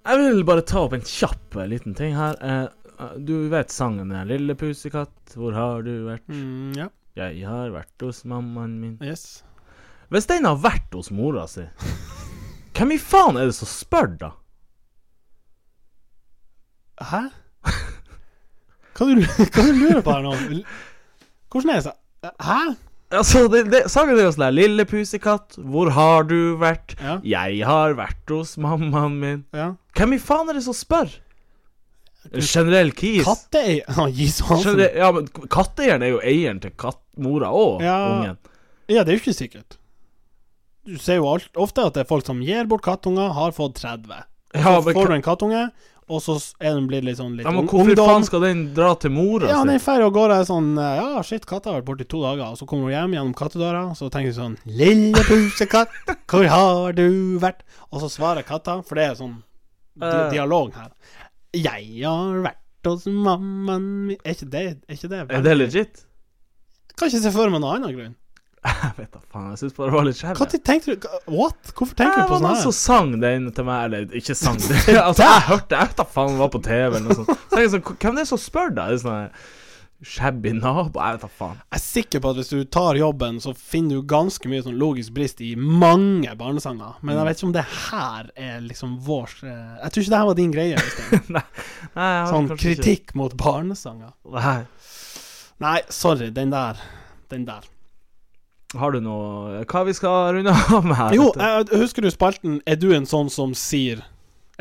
[SPEAKER 3] Jeg vil bare ta opp en kjapp eh, liten ting her. Eh, eh, Du vet sangen der 'Lille pusekatt, hvor har du vært?'
[SPEAKER 2] Mm, ja.
[SPEAKER 3] Jeg har vært hos mammaen min.
[SPEAKER 2] Yes.
[SPEAKER 3] Hvis den har vært hos mora si, hvem i faen er det som spør, da?
[SPEAKER 2] Hæ? Hva du, hva du lurer på her nå? Hvordan er det så Hæ?
[SPEAKER 3] Altså, det, det, Sangen er jo sånn der 'Lille pusekatt, hvor har du vært?'
[SPEAKER 2] Ja.
[SPEAKER 3] 'Jeg har vært hos mammaen min'.
[SPEAKER 2] ja.
[SPEAKER 3] Hvem i faen er det som spør? Generell kis.
[SPEAKER 2] Katteeier Han gir sånn.
[SPEAKER 3] Generell, ja, men Katteeieren er jo eieren til katt, mora og
[SPEAKER 2] Ja.
[SPEAKER 3] ungen.
[SPEAKER 2] Ja, det er jo ikke sikkert. Du ser jo alt, ofte at det er folk som gir bort kattunger, har fått 30. Så
[SPEAKER 3] Ja, men
[SPEAKER 2] får du en kattunge, og så er den blitt litt sånn litt
[SPEAKER 3] Ja, men
[SPEAKER 2] ung-
[SPEAKER 3] hvorfor faen
[SPEAKER 2] ungdom.
[SPEAKER 3] skal den dra til mora
[SPEAKER 2] Ja,
[SPEAKER 3] si?
[SPEAKER 2] den drar og går der sånn eh, Ja, shit, katta har vært borte i to dager. Og så kommer hun hjem gjennom kattedøra, og så tenker hun sånn Lille pusekatt, hvor har du vært? Og så svarer katta, for det er sånn di
[SPEAKER 3] Eh.
[SPEAKER 2] dialog her. Jeg har vært hos mammaen min Er ikke det, er ikke det
[SPEAKER 3] Er det legit?
[SPEAKER 2] Kan ikke se for meg noen annen grunn.
[SPEAKER 3] Jeg vet da faen, jeg syns bare det var litt skjevt.
[SPEAKER 2] Når tenkte du What? Hvorfor
[SPEAKER 3] Det
[SPEAKER 2] tenker du på
[SPEAKER 3] var
[SPEAKER 2] sånn
[SPEAKER 3] noen
[SPEAKER 2] her?
[SPEAKER 3] som altså, sang den til meg, eller ikke sang den (laughs) Altså, jeg hørte Jeg vet da faen, det var på TV eller noe (laughs) sånt. Så jeg sånn, Hvem er det som spør, da? Er det sånn her shabby nabo? Jeg vet da faen.
[SPEAKER 2] Jeg er sikker på at hvis du tar jobben, så finner du ganske mye sånn logisk brist i mange barnesanger. Men jeg
[SPEAKER 3] Mm.
[SPEAKER 2] vet ikke om det her er liksom vår eh, Jeg tror ikke det her var din greie.
[SPEAKER 3] (laughs)
[SPEAKER 2] Øystein.
[SPEAKER 3] (laughs) Nei, jeg har
[SPEAKER 2] Sånn
[SPEAKER 3] kanskje ikke-
[SPEAKER 2] kritikk mot barnesanger.
[SPEAKER 3] Nei.
[SPEAKER 2] Nei, sorry. Den der. Den der.
[SPEAKER 3] Har du noe Hva vi skal runde av med her?
[SPEAKER 2] Jo,
[SPEAKER 3] vet du?
[SPEAKER 2] jeg, husker du spalten 'Er du en sånn som sier'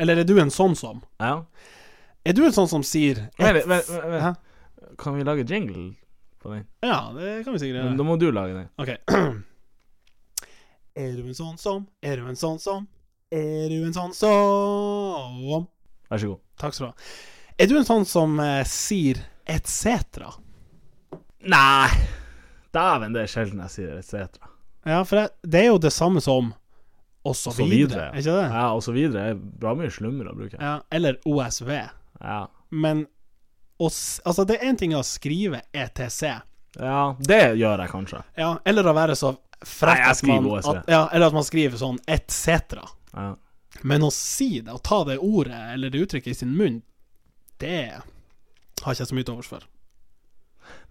[SPEAKER 2] Eller 'Er du en sånn som'?
[SPEAKER 3] ja.
[SPEAKER 2] Er du en sånn som sier
[SPEAKER 3] Vent, litt, vent, vent, vent.
[SPEAKER 2] Hæ?
[SPEAKER 3] Kan vi lage jingle på den?
[SPEAKER 2] Ja, det kan vi sikkert
[SPEAKER 3] Men
[SPEAKER 2] gjøre.
[SPEAKER 3] da må du lage den.
[SPEAKER 2] Ok. (clears throat) Er du en sånn som? Er du en sånn som? Er du en sånn som?
[SPEAKER 3] Vær så god.
[SPEAKER 2] Takk skal du ha. Er du en sånn som eh, sier etc.?
[SPEAKER 3] Nei. Dæven, det er sjelden jeg sier etc.
[SPEAKER 2] Ja, for det, det er jo det samme som og så
[SPEAKER 3] Og så
[SPEAKER 2] videre,
[SPEAKER 3] videre.
[SPEAKER 2] er ikke det?
[SPEAKER 3] Ja, og så videre. Bra mye slumre bruker jeg.
[SPEAKER 2] Ja, eller OSV.
[SPEAKER 3] Ja.
[SPEAKER 2] Men å s- altså, det er én ting å skrive ETC,
[SPEAKER 3] ja, det gjør jeg kanskje.
[SPEAKER 2] ja, eller å være så frekk
[SPEAKER 3] Nei, jeg
[SPEAKER 2] at man
[SPEAKER 3] skriver OSV.
[SPEAKER 2] at, ja, Eller at man skriver sånn etc.
[SPEAKER 3] Ja.
[SPEAKER 2] Men å si det, å ta det ordet eller det uttrykket i sin munn, det har ikke jeg så mye til overs for.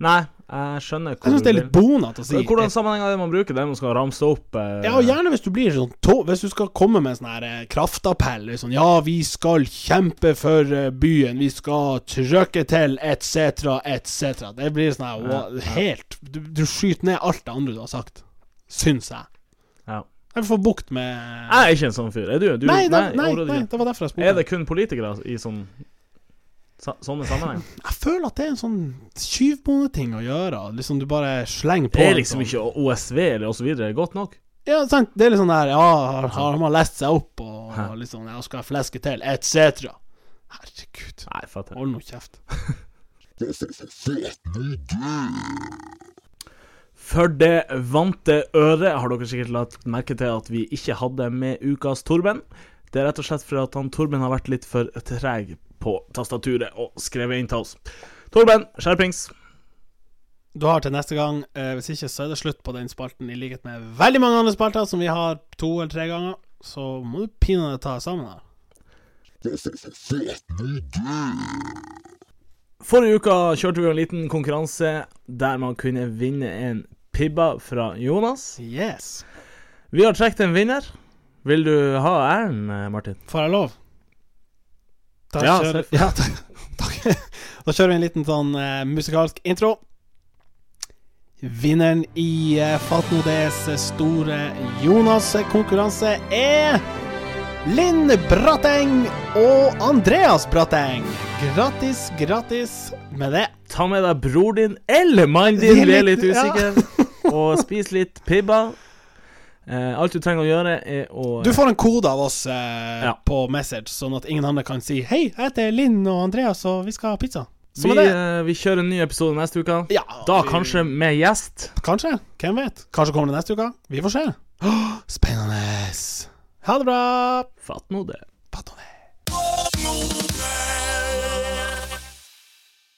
[SPEAKER 3] Nei, jeg skjønner
[SPEAKER 2] Jeg syns det er litt bonat å si.
[SPEAKER 3] Hvordan sammenhenger er det man bruker det man skal ramse opp eh,
[SPEAKER 2] Ja, og gjerne hvis du blir sånn to, Hvis du skal komme med en sånn her eh, kraftappell. Liksom, ja, vi skal kjempe for eh, byen, vi skal trøkke til, etc., etc. Det blir sånn her
[SPEAKER 3] Ja,
[SPEAKER 2] wow, helt du, du skyter ned alt det andre du har sagt, syns jeg.
[SPEAKER 3] Ja.
[SPEAKER 2] Jeg får bukt med
[SPEAKER 3] Jeg er ikke en sånn fyr. Er du? du
[SPEAKER 2] Nei, det, nei,
[SPEAKER 3] overhodet
[SPEAKER 2] nei,
[SPEAKER 3] ikke.
[SPEAKER 2] det var derfor jeg
[SPEAKER 3] Er
[SPEAKER 2] spurte.
[SPEAKER 3] det kun politikere i sånn sa,
[SPEAKER 2] (laughs)
[SPEAKER 3] sånne sammenhenger?
[SPEAKER 2] Jeg føler at det er en sånn tyvbondeting å gjøre. Liksom Du bare slenger på.
[SPEAKER 3] Det er
[SPEAKER 2] en
[SPEAKER 3] liksom
[SPEAKER 2] sånn-
[SPEAKER 3] ikke OSV eller osv. godt nok.
[SPEAKER 2] Ja, sant. Det er litt sånn der Ja, har, har man lest seg opp, og,
[SPEAKER 3] Hæ.
[SPEAKER 2] og liksom Ja, skal jeg fleske til, etc. Herregud.
[SPEAKER 3] Nei, fatter.
[SPEAKER 2] Hold nå kjeft.
[SPEAKER 3] For det vante øret har dere sikkert lagt merke til at vi ikke hadde med ukas Torben. Det er rett og slett fordi at han Torben har vært litt for treg på tastaturet og skrevet inn til oss. Torben, skjerpings.
[SPEAKER 2] Du har til neste gang. Eh, hvis ikke, så er det slutt på den spalten, i likhet med veldig mange andre spalter som vi har to eller tre ganger. Så må du pinadø ta deg sammen her.
[SPEAKER 3] Forrige uka kjørte vi jo en liten konkurranse der man kunne vinne en pibba fra Jonas.
[SPEAKER 2] Yes.
[SPEAKER 3] Vi har trukket en vinner. Vil du ha æren, eh, Martin?
[SPEAKER 2] Får jeg lov? Da,
[SPEAKER 3] Ja,
[SPEAKER 2] kjører,
[SPEAKER 3] selvfølgelig.
[SPEAKER 2] ja, (laughs) takk. takk. da kjører vi en liten sånn eh, musikalsk intro. Vinneren i eh, Fatno Ds store Jonas-konkurranse er Linn Bratteng og Andreas Bratteng. Grattis, grattis med det.
[SPEAKER 3] Ta med deg bror din eller mannen din,
[SPEAKER 2] Det er
[SPEAKER 3] vi er
[SPEAKER 2] litt-
[SPEAKER 3] litt usikre, og spis litt pibba. Eh, alt du trenger å gjøre, er å
[SPEAKER 2] Du får en kode av oss eh,
[SPEAKER 3] Ja.
[SPEAKER 2] på message, sånn at ingen andre kan si 'Hei, jeg heter Linn og Andreas, og vi skal ha pizza'. Så
[SPEAKER 3] vi,
[SPEAKER 2] med det
[SPEAKER 3] eh, vi kjører en ny episode neste uke.
[SPEAKER 2] ja,
[SPEAKER 3] Da
[SPEAKER 2] vi-
[SPEAKER 3] kanskje med gjest.
[SPEAKER 2] Kanskje. Hvem vet? Kanskje kommer det neste uke. Vi får se. Åh, Spennende. Ha det bra.
[SPEAKER 3] Fatt nå det.